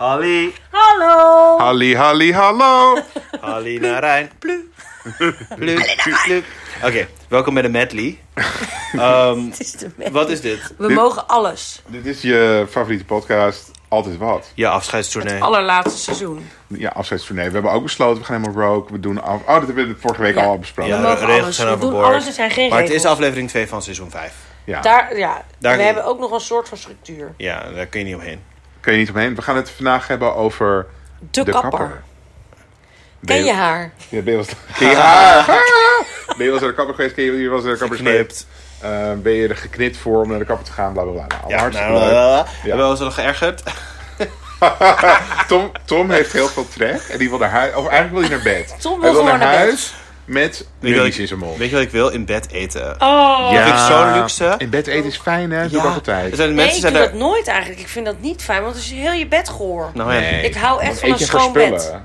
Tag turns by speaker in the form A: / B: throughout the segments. A: Halli,
B: Hallo!
C: Halli, halli, hallo.
A: Halli naar Rijn. Plu. Plu, plu. Oké, welkom bij de medley. Ehm,
B: Het is de me-
A: wat is dit?
B: We
C: Dit-
B: mogen alles.
C: Dit is je favoriete podcast, Altijd Wat.
A: Je afscheidstournee.
B: Allerlaatste seizoen.
C: Ja, afscheidstournee. We hebben ook besloten, we gaan helemaal rogue. We doen af... Oh, dat hebben we vorige week
B: Ja.
C: al
A: Ja,
C: besproken.
B: we
A: de
B: mogen
A: regels
B: alles.
A: zijn
B: we doen
A: overboord.
B: alles, er zijn geen
A: Maar het
B: regels.
A: is aflevering 2 van seizoen 5.
C: Ja.
B: Daar, ja.
A: Daar-
B: We hebben ook nog een soort van structuur.
A: Ja, daar kun je niet omheen.
C: Kun je niet omheen. We gaan het vandaag hebben over...
B: De, kapper. Ken je haar?
C: Ja, ben je wel eens- Ken je haar? ben je wel eens naar de kapper geweest? Ken je wie was naar de kapper geweest?
A: Geknipt.
C: Eh, ben je er geknipt voor om naar de kapper te gaan? Bla, bla, bla. Nou,
A: Ja,
C: hartstikke
A: nou,
C: leuk.
A: wel
C: Ja.
A: Hebben we ons al geërgerd?
C: Tom, Tom heeft heel veel trek en die wil naar huis. Of eigenlijk wil hij naar bed.
B: Tom wil
C: hij wil
B: gewoon naar bed.
C: huis met
A: Weet je wat
C: munitie
A: ik-
C: in zijn mond.
A: Weet je wat ik wil? In bed eten.
B: Oh!
A: Ja. Vind ik zo'n luxe.
C: In bed eten is fijn, hè? Doe ik altijd.
A: Er zijn
B: Nee,
A: mensen
B: ik
A: zijn
B: doe
A: daar...
B: dat nooit eigenlijk. Ik vind dat niet fijn, want het is heel je bed gehoor.
A: Nou ja.
B: Ik hou echt
C: want
B: van
C: eet
B: een
C: je voor
B: schoon bed.
C: spullen.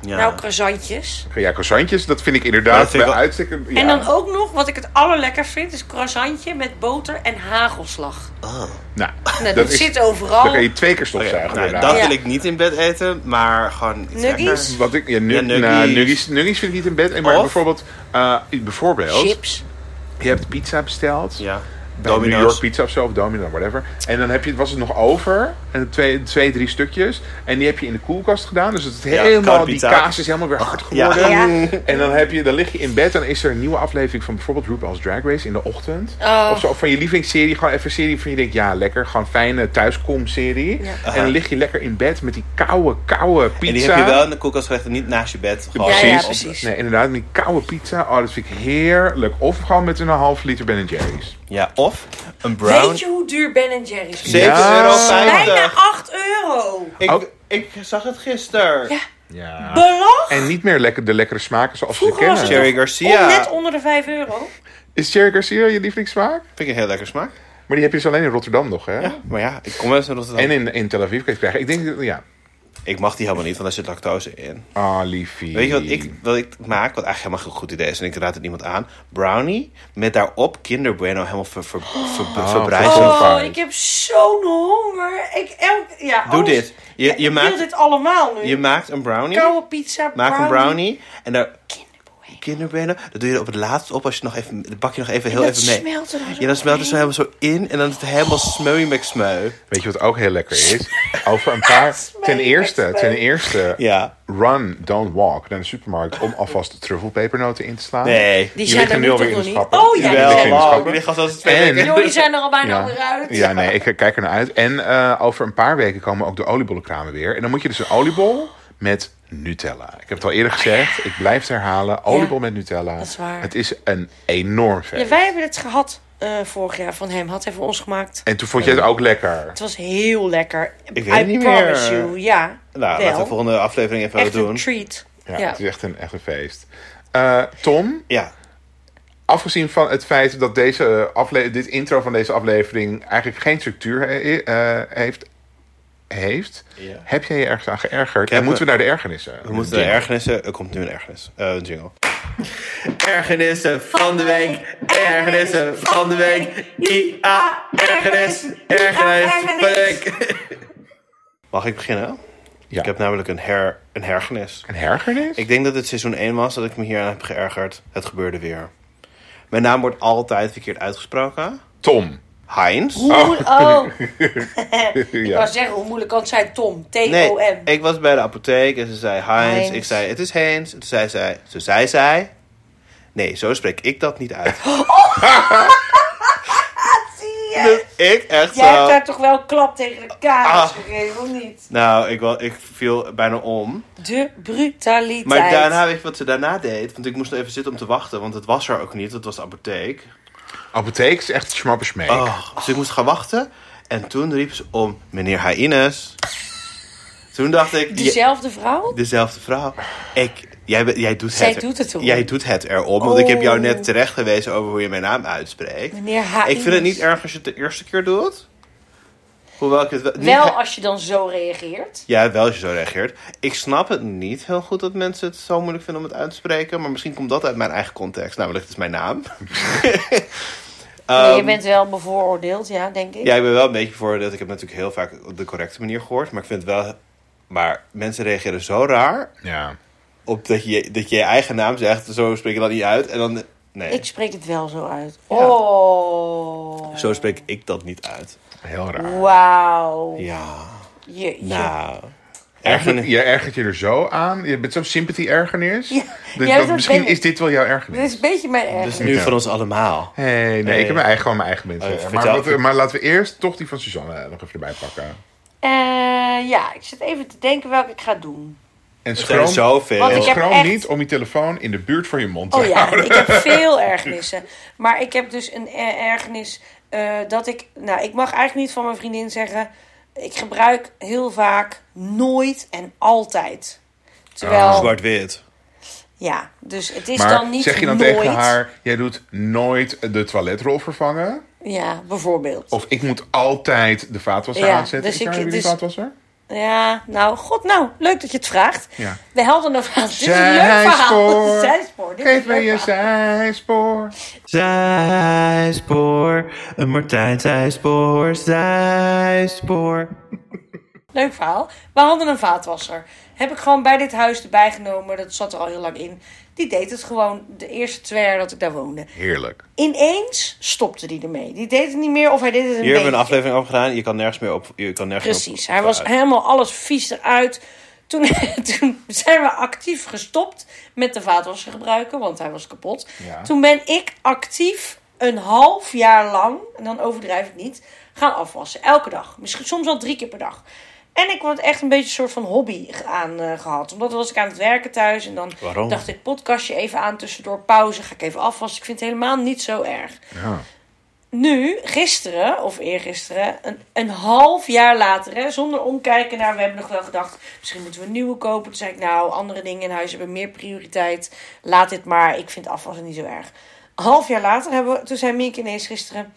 A: ja.
B: Nou, croissantjes.
C: Ja, croissantjes, dat vind ik
A: Maar dat
C: inderdaad
A: vind ik
C: bij
A: wel-
C: uitstek. een- Ja.
B: En dan ook nog, wat ik het allerlekker vind, is croissantje met boter en hagelslag.
C: Nou,
B: Nou, dat,
C: is-
B: zit
C: Dan
B: overal.
C: kun je twee keer
A: Oké,
C: stofzuigen.
A: nou,
C: inderdaad.
A: dat
B: Ja.
A: wil ik niet in bed eten, maar gewoon... iets
B: Nuggies?
A: lekkers.
C: Wat ik, ja, nu,
A: Ja,
C: nou,
A: nuggies.
C: nuggies. nuggies, vind ik niet in bed. En Maar
A: Of-
C: bijvoorbeeld, eh, bijvoorbeeld
B: Chips.
C: je hebt pizza besteld.
A: Ja.
C: bij
A: Domino's.
C: New York Pizza of zo, of Domino, whatever. En dan heb je, was het nog over, en twee, twee, drie stukjes. En die heb je in de koelkast gedaan. Dus het is
A: Ja,
C: helemaal,
A: koude
C: die
A: pizza.
C: kaas is helemaal weer hard
A: Ja.
C: geworden.
B: Ja.
C: En dan, heb je, dan lig je in bed en is er een nieuwe aflevering van bijvoorbeeld RuPaul's Drag Race in de ochtend.
B: Oh.
C: Of, zo, of van je lievelingsserie, gewoon even een serie van je denkt, ja lekker, gewoon fijne thuiskom-serie.
B: Ja.
C: En dan lig je lekker in bed met die koude, koude pizza.
A: En die heb je wel Oh, in de koelkast gelegd en niet naast je bed. Gewoon
B: Ja, ja,
A: op-
B: precies.
C: Nee, inderdaad, met die koude pizza. Oh, dat vind ik heerlijk. Of gewoon met een half liter Ben Jerry's.
A: Ja, of een brown...
B: Weet je hoe duur Ben Jerry's is?
C: Ja.
A: 7,50 euro.
B: Bijna 8 euro.
A: Ik,
C: Oh.
A: ik zag het gisteren.
B: Ja.
A: Ah.
C: Ja.
B: Belach.
C: En niet meer lekker de lekkere smaken zoals we ze
B: Vroeger was
C: kennen.
B: het
A: Jerry
B: nog
A: Garcia.
B: om net onder de 5 euro.
C: Is Cherry Garcia je lievelingssmaak?
A: Vind ik een heel lekker smaak.
C: Maar die heb je dus alleen in Rotterdam nog, hè?
A: Maar ja, ik kom wel eens in Rotterdam.
C: En in, in Tel Aviv kan je het krijgen. Ik denk, dat- ja.
A: Ik mag die helemaal niet, want daar zit lactose in.
C: Ah, liefie.
A: Weet je wat ik, wat ik maak, wat eigenlijk helemaal geen goed idee is, en ik raad het niemand aan? Brownie met daarop Kinder Bueno helemaal ver, ver, ver- verbrijzeld.
C: zo'n
B: Oh,
C: vaart.
B: ik heb zo'n honger. Ik elk, ja,
A: Doe
B: alles-
A: dit. Je,
B: Ja,
A: je,
B: ik wil
A: maakt,
B: dit allemaal nu.
A: je maakt een brownie,
B: Koude pizza,
A: maak een brownie, en daar
B: Kinderboei.
A: Kinder Bueno, dat doe je er op het laatst op als je nog even, dat bak je nog even heel
B: dat
A: even mee.
B: smelt er dan zo Oh,
A: Ja, dan smelt het zo
B: overheen.
A: helemaal zo in, en dan is het helemaal smeu met smeu.
C: Weet je wat ook heel lekker is? Over een paar...
B: Smeek,
C: Ten eerste,
B: smeek.
C: ten eerste...
A: Ja.
C: Run, don't walk naar de supermarkt om alvast truffelpepernoten in te slaan.
A: Nee.
B: Die
C: Die
B: zijn
C: liggen
B: er
C: nu
B: nu
C: alweer
B: toch
C: in
B: nog
C: de
B: niet?
C: schappen.
B: Oh
C: Die
B: ja,
C: liggen
B: ja,
C: in de
B: ja.
A: Jawel,
C: schappen.
A: die liggen als als twee
C: En-
A: weken.
B: Joh, die zijn er al bijna
C: Ja.
B: weer uit.
C: Ja, nee, ik kijk er naar uit. En eh, over een paar weken komen ook de oliebollenkramen weer. En dan moet je dus een oliebol met Nutella. Ik heb het al eerder gezegd, ik blijf het herhalen. Oliebol met Nutella.
B: Oh, dat is waar.
C: Het is een enorm feest.
B: Ja, wij hebben het gehad eh, vorig jaar van hem. Had hij voor ons gemaakt.
C: En toen vond je het ook lekker.
B: Het was heel lekker.
A: Ik weet het
B: I
A: niet
B: promise
A: meer.
B: you. Ja,
A: Nou,
B: wel.
A: laten we de volgende aflevering even
B: Echt een
A: doen.
B: treat.
C: Ja,
B: Ja,
C: Het is echt een, echt een feest. Eh, Tom,
A: Ja.
C: afgezien van het feit dat deze eh, afle- dit intro van deze aflevering eigenlijk geen structuur he- eh, heeft, heeft
A: Ja.
C: heb jij je ergens aan geërgerd?
A: heb
C: En moeten we
A: me-
C: naar de ergernissen?
A: We moeten de ergernissen. Er komt nu een ergernis. Eh, een jingle. Ergernissen van de week. Ergernissen van de week. IA. Ergernis. Ergernis van de week. Mag ik beginnen?
C: Ja.
A: Ik heb namelijk een, her, een hergenis.
C: Een ergernis?
A: Ik denk dat het seizoen 1 was dat ik me hier aan heb geërgerd. Het gebeurde weer. Mijn naam wordt altijd verkeerd uitgesproken.
C: Tom.
A: Heinz.
B: Hoe- oh. Ik
C: Ja.
B: wou zeggen, hoe moeilijk kan het zijn? Tom.
A: Nee,
B: T-O-M.
A: ik was bij de apotheek en ze zei Heinz.
B: Heinz.
A: Ik zei, het is Heinz. Toen zei zij, ze zei zij... Nee, zo spreek ik dat niet uit.
B: Zie je?
A: Dus ik echt
B: Jij
A: zo...
B: hebt daar toch wel een klap tegen de
A: Ah.
B: kaas gegeven, of niet?
A: Nou, ik, wel, ik viel bijna om.
B: De brutaliteit.
A: Maar daarna, weet je wat ze daarna deed? Want ik moest nog even zitten om te wachten. Want het was er ook niet. Het was de apotheek.
C: Apotheek is echt schmappersmeek.
A: Oh, dus ik moest gaan wachten. En toen riep ze om meneer Haines. Toen dacht ik... je-
B: Dezelfde vrouw?
A: Dezelfde vrouw. Ik, jij, be- jij doet
B: Zij
A: het er-
B: doet het erom.
A: Jij doet het erom, want ik heb jou
B: Oh.
A: net terecht gewezen over hoe je mijn naam uitspreekt.
B: Meneer H.
A: Ik vind het niet erg als je het de eerste keer doet. Hoewel ik het wel... niet
B: Wel
A: he-
B: als je dan zo reageert.
A: Ja, wel als je zo reageert. Ik snap het niet heel goed dat mensen het zo moeilijk vinden om het uit te spreken. Maar misschien komt dat uit mijn eigen context. Namelijk, het is mijn naam.
B: Maar
A: Ehm,
B: je bent wel bevooroordeeld, ja, denk ik.
A: Ja, ik ben wel een beetje voor dat. Ik heb natuurlijk heel vaak op de correcte manier gehoord. Maar ik vind het wel Maar mensen reageren zo raar
C: Ja.
A: op dat je dat je, je eigen naam zegt. Zo spreek je dat niet uit. En dan. Nee,
B: Ik spreek het wel zo uit. Oh.
A: zo spreek ik dat niet uit.
C: Heel raar.
B: Wauw.
A: Ja.
B: Je, je-
A: Nou.
C: Ergert,
A: Ergernis.
C: je ergert je er zo aan. Je bent zo'n sympathie-ergernis.
B: Ja,
C: Dus
B: ja,
C: dat-
B: dat
C: misschien
B: ben ik.
C: is dit wel jouw ergernis.
B: Dit is een beetje mijn
A: Dat is
B: ergernis.
A: nu voor ons allemaal.
C: Hey, nee, ik heb mijn eigen, gewoon mijn eigen mensen.
A: Oh, ja,
C: maar,
A: vertel.
C: wat- maar laten we eerst toch die van Suzanne nog even erbij pakken.
B: Eh, ja, ik zit even te denken welke ik ga doen.
C: En
A: Er zijn
C: schroom,
A: zoveel.
B: Want ik heb-
C: schroom
B: echt-
C: niet om je telefoon in de buurt van je mond te
B: Oh ja,
C: houden.
B: ik heb veel ergernissen. Maar ik heb dus een er- ergernis eh, dat ik... Nou, ik mag eigenlijk niet van mijn vriendin zeggen... Ik gebruik heel vaak nooit en altijd.
A: Ah,
B: Terwijl,
A: Zwart-wit.
B: ja, dus het is
C: Maar
B: dan niet
C: zeg je dan
B: nooit.
C: tegen haar, jij doet nooit de toiletrol vervangen.
B: Ja, bijvoorbeeld.
C: Of ik moet altijd de vaatwasser
B: Ja,
C: aanzetten.
B: dus
C: ik,
B: ik-
C: jullie
B: dus-
C: vaatwasser?
B: Ja, nou, god, nou, leuk dat je het vraagt.
C: Ja.
B: We helden een verhaal. Dit is een leuk verhaal.
C: Zijspoor,
B: Zijspoor. Dit is
C: geef
B: een
C: me
B: leuk
C: je
B: verhaal.
C: zijspoor.
A: Zijspoor. Een Martijn zijspoor. Zijspoor.
B: Leuk verhaal. We hadden een vaatwasser. Heb ik gewoon bij dit huis erbij genomen. Dat zat er al heel lang in. Die deed het gewoon de eerste twee jaar dat ik daar woonde.
C: Heerlijk.
B: Ineens stopte die ermee. Die deed het niet meer of hij deed het een
A: Hier hebben we een
B: beetje.
A: aflevering over gedaan. Je kan nergens meer op. Je kan nergens meer
B: Precies.
A: op-
B: Hij was
A: uit.
B: helemaal alles vies eruit. Toen, toen zijn we actief gestopt met de vaatwasser gebruiken, want hij was kapot.
C: Ja.
B: Toen ben ik actief een half jaar lang, en dan overdrijf ik niet, gaan afwassen. Elke dag. Misschien soms al drie keer per dag. En ik word echt een beetje een soort van hobby ge- aan eh, gehad. Omdat dan was ik aan het werken thuis en dan
A: Waarom?
B: dacht ik podcastje even aan tussendoor pauze. Ga ik even afwassen. Ik vind het helemaal niet zo erg
C: Ja.
B: nu, gisteren of eergisteren, een, een half jaar later, hè, zonder omkijken naar, we hebben nog wel gedacht, misschien moeten we een nieuwe kopen. Toen zei ik, nou, andere dingen in huis hebben meer prioriteit. Laat dit maar, ik vind afwassen niet zo erg. Een half jaar later, hebben we, toen zei Mieke ineens gisteren,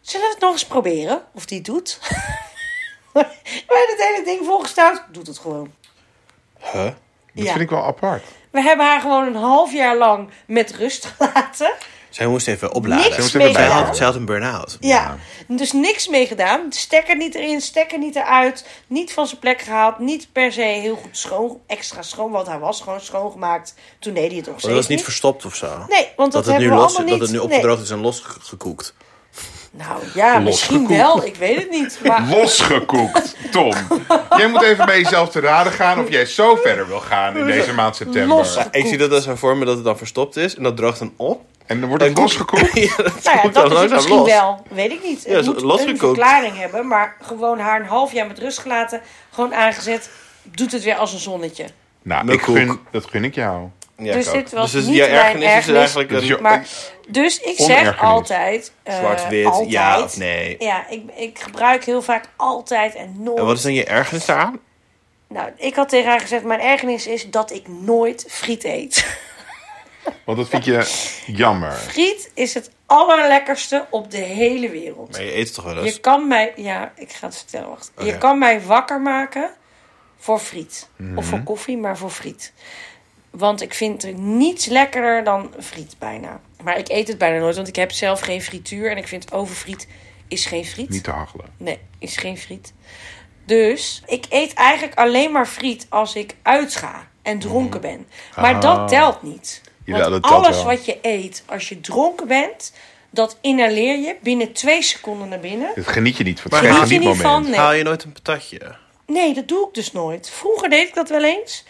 B: zullen we het nog eens proberen of die het doet? we hebben het hele ding volgestouwd, doet het gewoon.
A: Huh?
C: Dat
B: Ja.
C: vind ik wel apart.
B: We hebben haar gewoon een half jaar lang met rust gelaten.
A: Zij moest even opladen.
B: Niks
A: Zij moest
B: mee
A: even- zij,
B: gedaan.
A: had, zij had een burn-out.
B: Ja. dus niks mee gedaan. Stekker niet erin, stekker niet eruit. Niet van zijn plek gehaald. Niet per se heel goed schoon, extra schoon. Want hij was gewoon schoongemaakt. Toen deed hij het nog
A: Maar dat
B: steeds
A: was niet
B: niet.
A: verstopt of zo.
B: Nee, want dat,
A: dat, het nu
B: hebben we
A: los,
B: allemaal
A: dat
B: niet.
A: het nu
B: nee.
A: opgedroogd is en losgekookt.
B: Nou ja, misschien wel. Ik weet het niet. Maar
C: Losgekoekt, Tom. Jij moet even bij jezelf te raden gaan of jij zo verder wil gaan in deze maand september.
B: Los.
A: Ik zie dat als een vorm dat het dan verstopt is en dat droogt dan op.
C: En dan wordt het
A: Dan-
C: losgekoekt.
A: Ja, dat
B: nou ja,
A: komt
B: dat
A: dan
B: is het
A: langzaam
B: misschien
A: los.
B: wel. Weet ik niet.
A: Ja,
B: Het
A: is
B: moet een
A: losgekookt.
B: verklaring hebben. Maar gewoon haar een half jaar met rust gelaten. Gewoon aangezet. Doet het weer als een zonnetje.
C: Nou, ik
A: Melkkoek.
C: gun, dat gun ik jou.
A: Ja,
B: Dus
A: ik
B: dit
A: ook.
B: was
A: dus
B: niet
A: jouw
B: mijn
A: ergernis is
B: ergernis.
A: eigenlijk
C: Dus
A: een
C: je-
B: Maar, dus ik zeg
C: Onergernis.
B: altijd... eh,
A: zwart-wit, ja
B: altijd.
A: of nee.
B: Ja, ik, ik gebruik heel vaak altijd en nooit.
A: En wat is dan je ergernis daaraan?
B: Nou, ik had tegen haar gezegd: Mijn ergernis is dat ik nooit friet eet.
C: Want dat vind je jammer.
B: friet is het allerlekkerste op de hele wereld.
A: Maar je eet het toch wel eens?
B: Je kan mij, ja, ik ga het vertellen, wacht.
A: Oh,
B: je
A: ja.
B: kan mij wakker maken voor friet. Of
A: Mhm.
B: voor koffie, maar voor friet. Want ik vind er niets lekkerder dan friet bijna. Maar ik eet het bijna nooit, want ik heb zelf geen frituur. En ik vind overfriet is geen friet.
C: Niet te hachelen.
B: Nee, is geen friet. Dus ik eet eigenlijk alleen maar friet als ik uitga en dronken ben. Maar
C: Ah.
B: dat telt niet.
C: Ja,
B: Want
C: dat telt
B: alles
C: wel.
B: wat je eet als je dronken bent, dat inhaleer je binnen twee seconden naar binnen.
C: Dit geniet je niet van.
A: Maar
C: Het is geen
A: geniet je
B: niet
C: genietmoment.
B: van? Nee.
A: Haal je nooit een patatje?
B: Nee, dat doe ik dus nooit. Vroeger deed ik dat wel eens,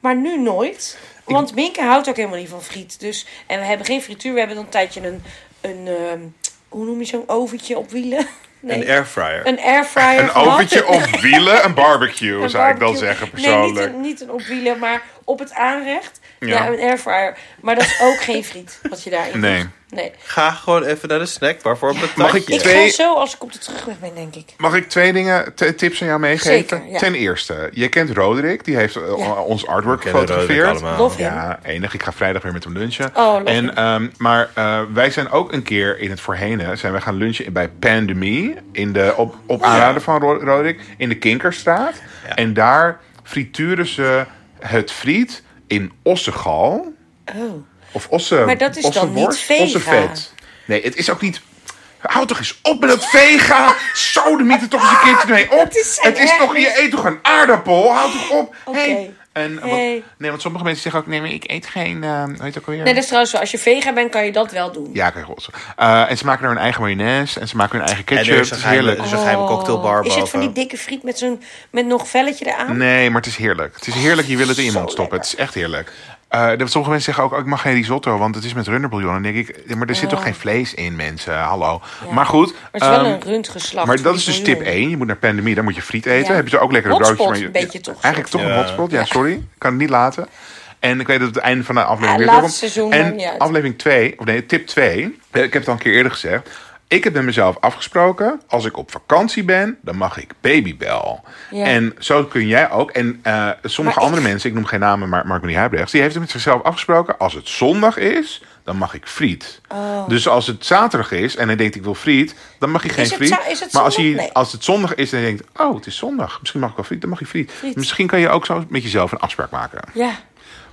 B: maar nu nooit. Want Minke houdt ook helemaal niet van friet. Dus, en we hebben geen frituur, we hebben dan een tijdje een, een ehm, hoe noem je zo'n oventje op wielen? Nee,
A: Een airfryer.
B: een airfryer.
C: Een
B: gehad.
C: oventje op wielen, een barbecue,
B: Een
C: zou ik dan
B: barbecue.
C: zeggen persoonlijk.
B: Nee, niet een, niet een op wielen, maar op het aanrecht. Ja.
C: Ja.
B: een airfryer. Maar dat is ook geen friet wat je daarin
C: Nee.
B: doet. Nee.
A: Ga gewoon even naar de snackbar voor een patatje.
C: Mag ik-
B: Ik
C: Twee-
B: ga zo als ik op de terugweg ben, denk ik.
C: Mag ik twee dingen, t- tips aan jou meegeven?
B: Zeker, ja.
C: Ten eerste, je kent Roderick, die heeft eh,
B: Ja.
C: ons artwork
A: We kennen Roderick
C: gefotografeerd.
A: allemaal.
B: Lof hem.
C: Ja, enig. Ik ga vrijdag weer met hem lunchen.
B: Oh, leuk.
C: en, ehm, maar eh, wij zijn ook een keer in het voorhenen zijn wij gaan lunchen bij Pandemie. In de, op, op
B: Oh,
C: aanraden van Ro- Roderick. In de Kinkerstraat.
A: Ja.
C: En daar frituren ze het friet in ossegal.
B: Oh.
C: Of osse,
B: Maar dat is dan niet
C: ossenworst,
B: vega.
C: ossenvet. Nee, het is ook niet... Houd toch eens op met dat vega. Sodemiet er toch eens een keertje mee op.
B: Het is echt
C: het is toch,
B: erg.
C: je eet toch een aardappel? Houd toch op.
B: Oké.
C: Hey. En, want-
B: Hey.
C: Nee, want sommige mensen zeggen ook, nee, maar ik eet geen, eh hoe heet het ook alweer?
B: Nee, dat is trouwens wel. Als je vegan bent, kan je dat wel doen.
C: Ja, kijk, roze. Eh, en ze maken er hun eigen mayonaise en ze maken hun eigen ketchup.
A: er is
C: Het
A: een
C: is
A: geheime-
C: heerlijk.
A: er is een geheime cocktailbar
B: Oh. Is het van die
A: boven.
B: dikke friet met, zo'n, met nog velletje eraan?
C: Nee, maar het is heerlijk. Het is heerlijk, je wil het in je mond stoppen. Het is echt heerlijk. Eh, dat sommige mensen zeggen ook, oh, ik mag geen risotto, want het is met runderbouillon. Dan denk ik, maar er zit toch geen vlees in, mensen? Hallo. Maar goed.
B: Oh. Maar het is wel
C: ehm,
B: een rundgeslacht.
C: maar dat is dus tip
B: miljoen.
C: 1. Je moet naar Pandemie, daar moet je friet eten.
B: Ja.
C: Heb je er ook lekkere
B: Hotspot
C: broodjes. maar
B: een beetje toch,
C: Eigenlijk toch
B: soort
C: een
A: van.
C: hotspot. Ja, sorry. Ik kan het niet laten. En ik weet dat het einde van de aflevering
B: Ja,
C: weer
B: laatste
C: terugkomt.
B: seizoen, maakt
C: En
B: niet uit.
C: aflevering 2, of nee, tip 2. Ik heb het al een keer eerder gezegd. Ik heb met mezelf afgesproken, als ik op vakantie ben, dan mag ik babybel.
B: Ja.
C: En zo kun jij ook. En eh, sommige
B: Maar ik-
C: andere mensen, ik noem geen namen, maar Mark-Marie Huibrechts... die heeft het met zichzelf afgesproken, als het zondag is, dan mag ik friet.
B: Oh.
C: Dus als het zaterdag is en hij denkt ik wil friet, dan mag hij geen
B: Is het
C: friet.
B: za- is het
C: maar als, hij,
B: zondag? Nee.
C: als het zondag is en je denkt, oh, het is zondag. Misschien mag ik wel friet, dan mag je friet. Misschien kan je ook zo met jezelf een afspraak maken.
B: Ja.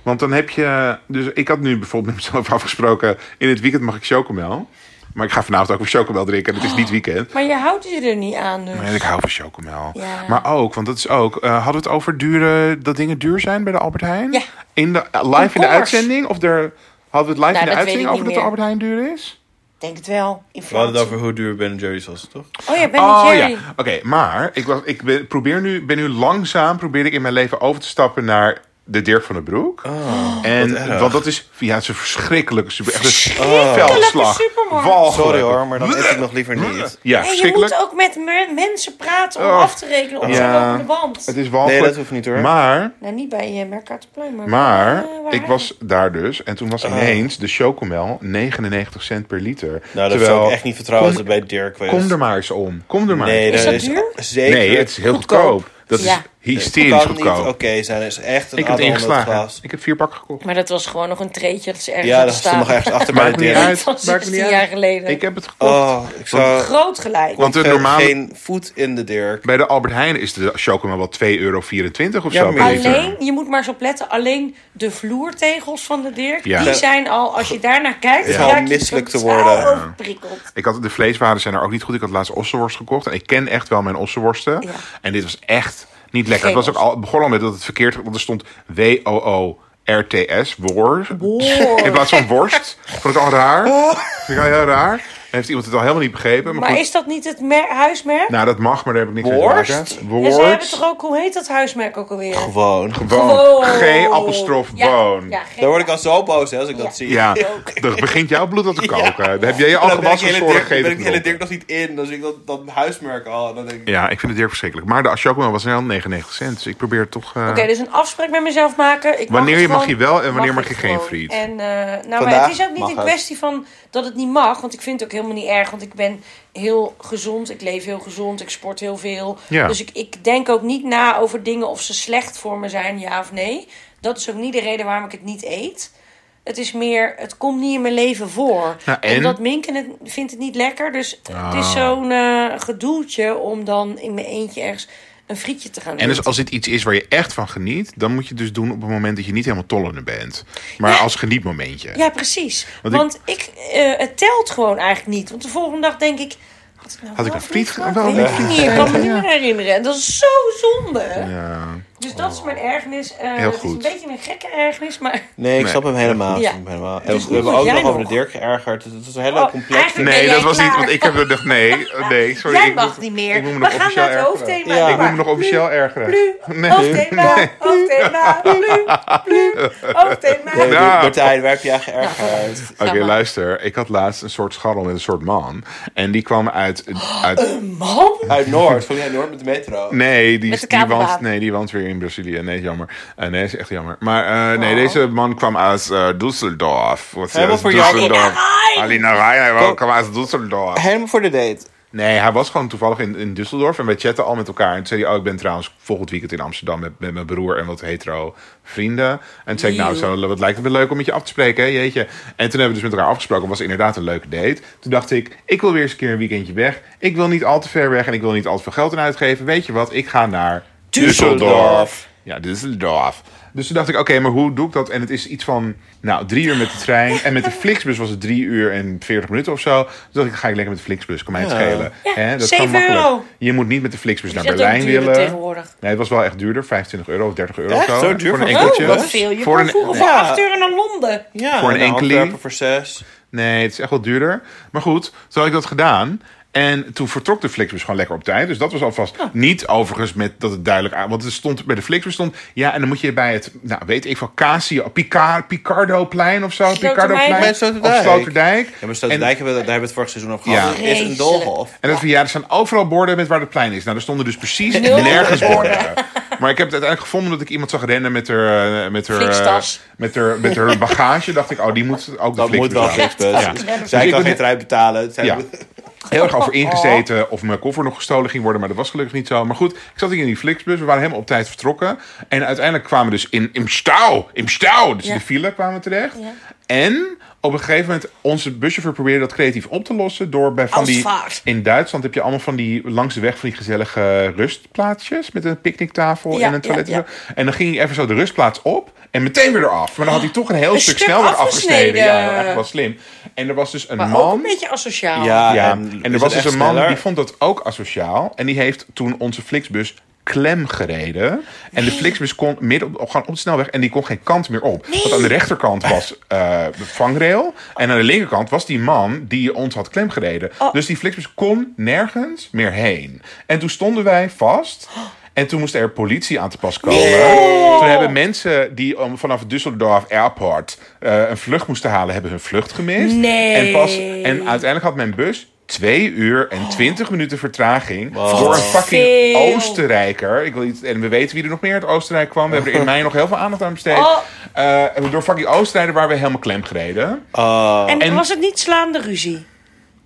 C: Want dan heb je... Dus ik had nu bijvoorbeeld met mezelf afgesproken... in het weekend mag ik chocomel. Maar ik ga vanavond ook weer chocomel drinken. en Het
B: Oh.
C: is niet weekend.
B: Maar je houdt je er niet aan dus.
C: En ik hou van chocomel.
B: Ja.
C: Maar ook, want dat is ook... eh, hadden we het over dure, dat dingen duur zijn bij de Albert Heijn?
B: Ja.
C: In de, eh, live in de
B: commerce.
C: uitzending? Of er, hadden we het live
B: Nou,
C: in
B: dat
C: de
B: weet ik
C: uitzending
B: niet
C: over dat de
B: meer.
C: Albert Heijn duur is?
B: Ik denk het wel.
A: We hadden
B: Inflatie.
A: het over hoe duur Ben Jerry's was, toch?
B: Oh ja, Ben
C: Oh
B: Jerry.
C: ja, oké. maar ik, was, ik ben, probeer nu, ben nu langzaam probeer ik in mijn leven over te stappen naar de Dirk van den Broek. en,
A: Oh, erg.
C: want dat is, ja, het is een verschrikkelijke super, echt een
B: Verschrikkelijke
C: veldslag.
B: supermarkt.
C: Walgelijk.
A: Sorry hoor, maar dan eet ik nog liever niet.
B: En
C: Ja,
B: je moet
C: verschrikkelijk.
B: ook met me- mensen praten om
C: Oh.
B: af te rekenen op
C: Ja.
B: zo'n lopende band.
C: Het is walgelijk.
A: Nee, dat hoeft niet, hoor.
C: Maar,
B: Nou, niet bij uh, Mercatorplein, maar...
C: maar
B: eh, waar
C: ik was daar dus en toen was ineens de chocomel 99 cent per liter.
A: Ah. Nou, dat
C: Terwijl,
A: zou ik echt niet vertrouwen
C: kom-
A: als het bij Dirk was.
C: Kom er maar eens om. Kom er maar
A: Nee,
C: eens
B: Is
A: dat
B: dat
A: is
B: duur?
A: zeker.
C: Nee, het is heel goedkoop.
B: Goedkoop.
C: Dat
B: Ja.
C: is hysterisch
A: Het kan niet
C: goedkoop.
A: oké zijn. Het is echt een
C: Ik heb
A: ander onder
C: het
A: het
C: ingeslagen.
A: glas.
C: Ik heb vier pakken gekocht.
B: Maar dat was gewoon nog een treetje dat ze ergens
A: Ja,
B: hadden
A: dat stond nog
B: staan.
A: ergens achter bij
C: Maakt
A: de
C: me niet
A: Dirk.
C: uit.
B: Van
C: Maakt me niet
B: 16
C: uit.
B: jaar geleden.
C: Ik heb het gekocht.
A: Oh, ik zou...
B: Groot gelijk.
C: Want de
A: Geen-
C: normale-
A: Geen voet in de Dirk.
C: Bij de Albert Heijn is de chocomel wel 2,24 euro of
A: Ja,
C: zo.
A: maar
C: per liter.
B: Alleen, je moet maar eens opletten, alleen de vloertegels van de Dirk,
C: Ja.
B: die zijn al, als je daarnaar kijkt,
A: Het is
B: raak
A: al
B: je
A: misselijk te
B: totaal
A: worden.
B: overprikkeld.
C: Ik had, de vleeswaren zijn er ook niet goed. Ik had laatst ossenworst gekocht. En ik ken echt wel mijn ossenworsten.
B: Ja.
C: En dit was echt niet lekker.
B: Geen
C: het was ook al, het begon al met dat het verkeerd... Want er stond W-O-O... RTS, woor. In plaats van worst. Vond ik al raar. Vind ik al heel raar. Dan heeft iemand het al helemaal niet begrepen. Maar,
B: Oh. Maar
C: goed,
B: is dat niet het mer- huismerk?
C: nou, dat mag, maar daar heb ik niks
A: Worst?
C: aan te maken.
B: ja,
C: Worst.
B: ze hebben toch ook, hoe heet dat huismerk ook alweer?
A: Gewoon.
C: Gewoon. Geen appelstrof,
B: Ja,
C: boon.
B: Ja, geen-
A: Daar word ik al zo boos hè, als ik
B: Ja.
A: dat zie.
C: Ja,
B: Ook.
C: dan begint jouw bloed al te koken. Dan heb jij
B: Nou,
C: je
A: En
C: al
A: Dan ben ik
C: gewassen
A: hele
C: voor
A: Dirk, ben ik
C: gegeven.
A: hele Dirk nog niet in. Dan zie ik dat, dat huismerk al. en Dan denk ik,
C: Ja, ik vind het Dirk verschrikkelijk. Maar de Ashokman was wel 99 cent. Dus ik probeer het toch... eh,
B: Oké, dus een afspraak met mezelf maken. Ik
C: Wanneer
B: mag
C: je
B: het
C: mag
B: gewoon,
C: je wel en wanneer mag
B: ik
C: je geen
B: gewoon.
C: friet.
B: En, eh, nou, maar
A: Vandaag
B: het is ook
A: mag
B: niet een
A: het.
B: kwestie van dat het niet mag. Want ik vind het ook helemaal niet erg. Want ik ben heel gezond. Ik leef heel gezond. Ik sport heel veel.
C: Ja.
B: Dus ik, ik denk ook niet na over dingen of ze slecht voor me zijn, ja of nee. Dat is ook niet de reden waarom ik het niet eet. Het is meer, het komt niet in mijn leven voor.
C: Nou, en? Ah.
B: Omdat Minken het, vindt het niet lekker. Dus het is zo'n eh gedoeltje om dan in mijn eentje ergens een frietje te gaan eten.
C: En dus als dit iets is waar je echt van geniet... dan moet je het dus doen op het moment dat je niet helemaal tollender bent. Maar als genietmomentje.
B: Ja, precies.
C: Want
B: Want,
C: ik-
B: ik, eh, het telt gewoon eigenlijk niet. Want de volgende dag denk ik... Had ik nou
C: Had ik
B: wel
C: een friet
B: gemaakt?
C: ge- wel
B: Weet
C: een
B: ik
C: friet
B: niet. Ik kan me
C: gegeten,
B: niet
C: ja.
B: meer herinneren. En dat is zo zonde.
C: Ja. Oh.
B: Dus dat is mijn ergernis. Eh,
C: Heel
B: Het is
C: goed.
B: een beetje een gekke ergernis, maar...
A: Nee, ik
C: Nee.
A: snap hem helemaal. ik
B: Ja.
A: snap hem helemaal. En
B: is
A: we
B: goed
A: hebben
B: dat
A: ook
B: jij
A: nog over de
B: nog-
A: Dirk geërgerd. Het is een hele
B: Oh,
A: complexe...
B: eigenlijk-
C: Nee,
B: jij
C: dat was niet...
B: klaar?
C: Want ik heb er... Nee, eh, nee, sorry.
B: Jij
C: ik
B: mag
C: moet-
B: niet
C: ik
B: meer.
C: moet
B: We
C: me nog
B: gaan
C: officieel
B: naar het
C: ergeren.
B: hoofdthema.
A: Ja.
B: Doe
C: Ik moet
B: maar.
C: me nog officieel ergeren. Nee.
B: Hoofdthema, hoofdthema, plu, plu,
A: Nee,
B: hoofdthema.
C: Ja.
A: Martijn, waar heb je eigenlijk geërgerd?
C: Oké,
B: Ga maar.
C: luister. Ik had laatst een soort scharrel met een soort man. En die kwam uit... uit
B: Man,
A: Uit Noord. Kom jij Noord met de metro?
C: Nee, die,
B: Met de
C: die,
B: kabelbaan.
C: woont, nee, die woont weer in Brazilië. Nee, jammer. Eh, nee, is echt jammer. Maar eh,
B: Oh.
C: nee, deze man kwam uit eh, Düsseldorf. Wat
A: Helemaal
C: uit
A: voor jou.
C: Alina Rijn, hij wel- kwam uit Düsseldorf.
A: Helemaal voor de date.
C: Nee, hij was gewoon toevallig in, in Düsseldorf en wij chatten al met elkaar. En toen zei hij, oh, ik ben trouwens volgend weekend in Amsterdam met, met mijn broer en wat hetero vrienden. En toen zei ik, nou, zo, wat lijkt het me leuk om met je af te spreken, hè, jeetje. En toen hebben we dus met elkaar afgesproken. Het was inderdaad een leuke date. Toen dacht ik, ik wil weer eens een keer een weekendje weg. Ik wil niet al te ver weg en ik wil niet al te veel geld aan uitgeven. Weet je wat, ik ga naar Düsseldorf. Ja, dit is af. Dus toen dacht ik, oké, maar hoe doe ik dat? En het is iets van, nou, drie uur met de trein. En met de Flixbus was het drie uur en veertig minuten of zo. Dus dacht ik, ga ik lekker met de Flixbus. Kan mij het
A: Ja.
C: schelen.
B: Ja,
C: Hè, dat
B: zeven
C: kan makkelijk.
B: euro.
C: Je moet niet met de Flixbus naar
B: is echt ook
C: Berlijn
B: duurder
C: willen.
B: tegenwoordig.
C: Nee, het was wel echt duurder. 25 euro of 30 euro
A: Echt?
C: of zo.
A: Zo duur
C: voor een
A: voor-
C: enkeltje.
B: Oh, wat veel. Je
C: voor
B: voor
C: een,
B: vroeger voor
A: Ja.
B: acht uur naar Londen.
A: Ja,
C: Voor een
A: naar
C: enkeling.
A: Antwerpen voor zes.
C: Nee, het is echt wel duurder. Maar goed, toen had ik dat gedaan. En toen vertrok de Flixbus gewoon lekker op tijd. Dus dat was alvast niet overigens met dat het duidelijk aan... Want het stond bij de Flixbus stond... Ja, en dan moet je bij het, nou weet ik van Casio... Picard, Picardoplein of zo.
B: Sloterdijk.
C: Picardoplein
A: Bij
C: of
A: Sloterdijk.
C: Sloterdijk.
A: Ja, maar Stotendijk, hebben we, daar hebben we het vorig seizoen over gehad.
C: Ja.
A: Het is een doolhof.
C: En dat van ja, er staan overal borden met waar het plein is. Nou, er stonden dus precies
B: Nul
C: nergens borden.
B: borden.
C: Maar ik heb het uiteindelijk gevonden dat ik iemand zag rennen met haar, eh, met haar, eh,
B: Flixtas.
C: met haar, met haar bagage. Dacht ik, oh, die moet ook de
A: Dat moet
C: Flixbus
A: wel
C: aan.
A: Flixbus.
C: Ja. Dus
A: Zij
C: ik
A: kan
C: ben-
A: geen trui betalen. Zij
C: Ja.
A: moet-
C: Heel erg
B: Oh,
C: over ingezeten of mijn koffer nog gestolen ging worden, maar dat was gelukkig niet zo. Maar goed, ik zat hier in die Flixbus, we waren helemaal op tijd vertrokken. En uiteindelijk kwamen we dus in, in Stau, in Stau, dus in
B: Ja.
C: de file kwamen we terecht.
B: Ja.
C: En op een gegeven moment, onze buschauffeur probeerde dat creatief op te lossen door bij
B: Oh,
C: van die...
B: Uitvaart.
C: In Duitsland heb je allemaal van die langs de weg van die gezellige rustplaatsjes met een picknicktafel
B: Ja,
C: en een toilet.
B: ja,
C: en zo. En dan ging hij even zo de rustplaats op en meteen weer eraf. Maar dan had hij toch een heel stuk,
B: Oh, stuk
C: sneller
B: afgesneden.
C: afgesneden. Ja, dat was echt wel slim. En er was dus een
B: Maar
C: man
B: ook een beetje asociaal.
A: Ja.
C: ja,
A: en
C: en,
A: is
C: er
A: het
C: was dus
A: echt
C: een man
A: sneller?
C: die vond dat ook asociaal. En die heeft toen onze Flixbus klem gereden. En de Flixbus kon midden op, gewoon op de snelweg en die kon geen kant meer op. Want aan de rechterkant was eh, de vangrail. En aan de linkerkant was die man die ons had klem gereden. Dus die Flixbus kon nergens meer heen. En toen stonden wij vast. En toen moest er politie aan te pas komen. Toen hebben mensen die om- vanaf Düsseldorf Airport eh, een vlucht moesten halen, hebben hun vlucht gemist.
B: Nee.
C: En pas en uiteindelijk had mijn bus twee uur en twintig minuten vertraging door een fucking
B: Veel.
C: Oostenrijker. Ik wil iets, en we weten wie er nog meer uit Oostenrijk kwam. We hebben er in mei nog heel veel aandacht aan besteed.
B: Oh.
C: Eh, door fucking Oostenrijker waren we helemaal klem gereden.
A: Oh.
B: En,
C: En-
B: was het niet slaande ruzie?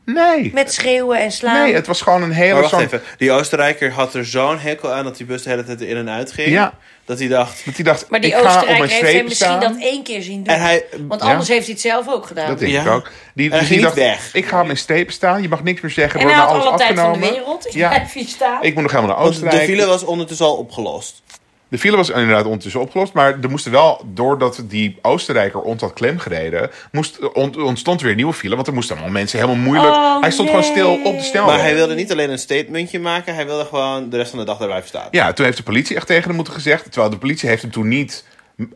C: Nee.
B: Met schreeuwen en slaan?
C: Nee, het was gewoon een
A: Maar
C: hele...
A: wacht
C: zo'n-
A: even. Die Oostenrijker had er zo'n hekel aan dat die bus de hele tijd in en uit ging.
C: Ja.
A: Dat hij dacht...
C: Dat hij dacht,
B: maar die
C: ik ga op mijn
B: Oostenrijker heeft hem
C: streep
B: misschien
C: staan.
B: dat één keer zien doen.
A: En hij...
B: Want
C: Ja.
B: anders heeft hij het zelf ook gedaan.
C: Dat denk
A: Ja.
C: ik ook. Die,
A: hij
C: dus
A: ging
C: die dacht,
A: niet weg.
C: ik ga op mijn streep staan. Je mag niks meer zeggen.
B: en hij
C: wordt
B: had
C: nou
B: alle
C: alles
B: tijd van de
C: afgenomen.
B: wereld. Ik
C: Ja.
B: blijf hier staan. Oh,
C: Ik moet nog helemaal naar
A: Want de
C: Oostenrijk.
A: file was ondertussen al opgelost.
C: De file was inderdaad ondertussen opgelost, maar er moesten wel, doordat die Oostenrijker ons had klemgereden, moest, ont- ontstond weer een nieuwe file, want er moesten allemaal mensen helemaal moeilijk.
B: Oh,
C: hij stond gewoon
B: nee.
C: stil op de snelweg.
A: Maar hij wilde niet alleen een statementje maken. Hij wilde gewoon de rest van de dag daar blijven staan.
C: Ja, toen heeft de politie echt tegen hem moeten gezegd, terwijl de politie heeft hem toen niet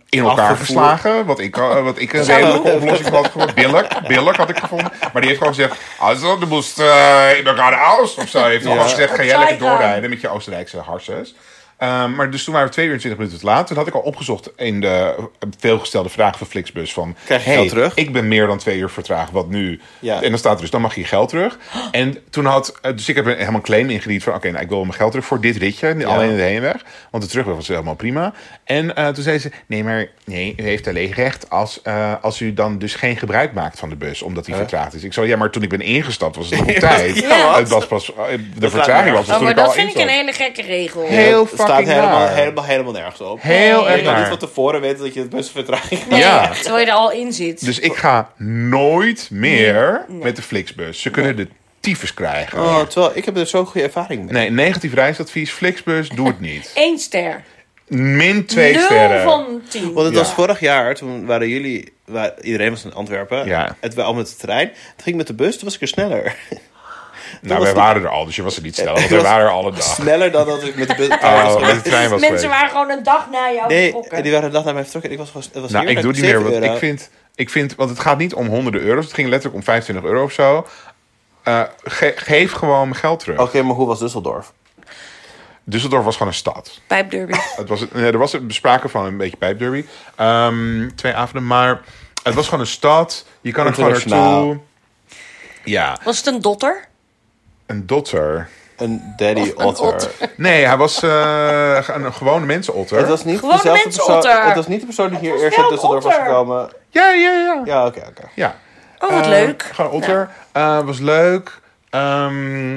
C: in elkaar
A: Afgevoerd.
C: geslagen, wat ik, eh, wat ik een
A: Zou
C: redelijke
A: ook.
C: oplossing had gevonden. Billig, billig had ik gevonden. Maar die heeft gewoon gezegd, also, de moest eh, in elkaar de aus of zo. Heeft hij gewoon gezegd, ga jij
B: Opzij
C: lekker
B: gaan.
C: doorrijden met je Oostenrijkse harses. Ehm, maar dus toen waren we 2 uur en 20 minuten te laat. Toen had ik al opgezocht in de veelgestelde vraag van Flixbus van...
A: Krijg je
C: hey,
A: geld terug?
C: ik ben meer dan twee uur vertraagd, wat nu?
A: Ja.
C: En dan staat er dus, dan mag je je geld terug. En toen had, eh, dus ik heb een helemaal claim ingediend van... oké, nou, ik wil mijn geld terug voor dit ritje, niet alleen de heenweg. Want de terugweg was helemaal prima. En eh, toen zei ze, nee, maar nee, u heeft alleen recht... Als, eh, als u dan dus geen gebruik maakt van de bus, omdat die vertraagd is. Ik zei, ja, maar toen ik ben ingestapt was het nog op tijd.
A: Ja, wat?
C: Het was pas, eh, de
A: staat
C: vertraging
A: nergens.
C: was pas
B: oh,
C: toen
B: maar
C: ik al
B: dat vind ik
C: instapte.
B: een hele gekke regel.
C: Heel
A: Het staat
C: fucking
A: helemaal,
C: naar.
A: helemaal, helemaal nergens op.
C: Heel
A: Je
C: erg
A: kan niet
C: naar.
A: van tevoren weten dat je het busvertraging hebt.
B: Nee,
C: Ja.
B: Terwijl je er al in zit.
C: Dus ik ga nooit meer met de Flixbus. Ze kunnen de tyfus krijgen.
A: Oh, terwijl ik heb er zo'n goede ervaring mee.
C: Nee, negatief reisadvies. Flixbus, doe het niet.
B: Eén ster.
C: Min twee
B: Nul
C: sterren. Nou,
B: van tien.
A: Want het
C: Ja.
A: was vorig jaar, toen waren jullie, waar, iedereen was in Antwerpen.
C: Ja.
A: Het was al met de trein. Toen ging ik met de bus, toen was ik er sneller.
C: Nou,
A: was
C: wij
A: het-
C: waren er al, dus je was er niet snel. Want wij
A: was-
C: waren er alle dag.
A: Sneller dan dat ik met de bus.
C: Oh, met de trein was
B: Mensen
C: geweest.
B: waren gewoon een dag na jou
A: Nee,
B: vertrokken.
A: die waren de dag naar mij vertrokken. en Ik was gewoon. Het was
C: Nou,
A: hier
C: ik doe
A: met
C: het niet meer.
A: 7
C: Want
A: euro.
C: ik vind, ik vind, want het gaat niet om honderden euro's. Het ging letterlijk om 25 euro of zo. Eh, ge- geef gewoon mijn geld terug.
A: Oké, maar hoe was Düsseldorf?
C: Düsseldorf was gewoon een stad.
B: Pijpderby.
C: Het was, nee, er was sprake van een beetje pijpderby. Ehm, twee avonden, maar het was gewoon een stad. Je kan er gewoon
A: Internationaal.
C: naartoe. Ja,
B: Was het een dotter?
C: een dotter.
A: Een daddy
B: Of een
A: otter.
B: otter.
C: Nee, hij was eh, een gewone mensenotter.
A: Het was niet
B: Gewoon
A: dezelfde
B: mensenotter.
A: persoon. Het was niet de persoon die hier
B: was
A: eerst
B: wel
A: uit
B: een
A: Düsseldorf was
B: otter.
A: gekomen.
C: Ja, ja, ja.
A: Ja, oké, oké.
C: ja.
B: Oh, wat
C: Eh,
B: leuk.
C: Gewoon otter. Eh, was leuk. Ehm,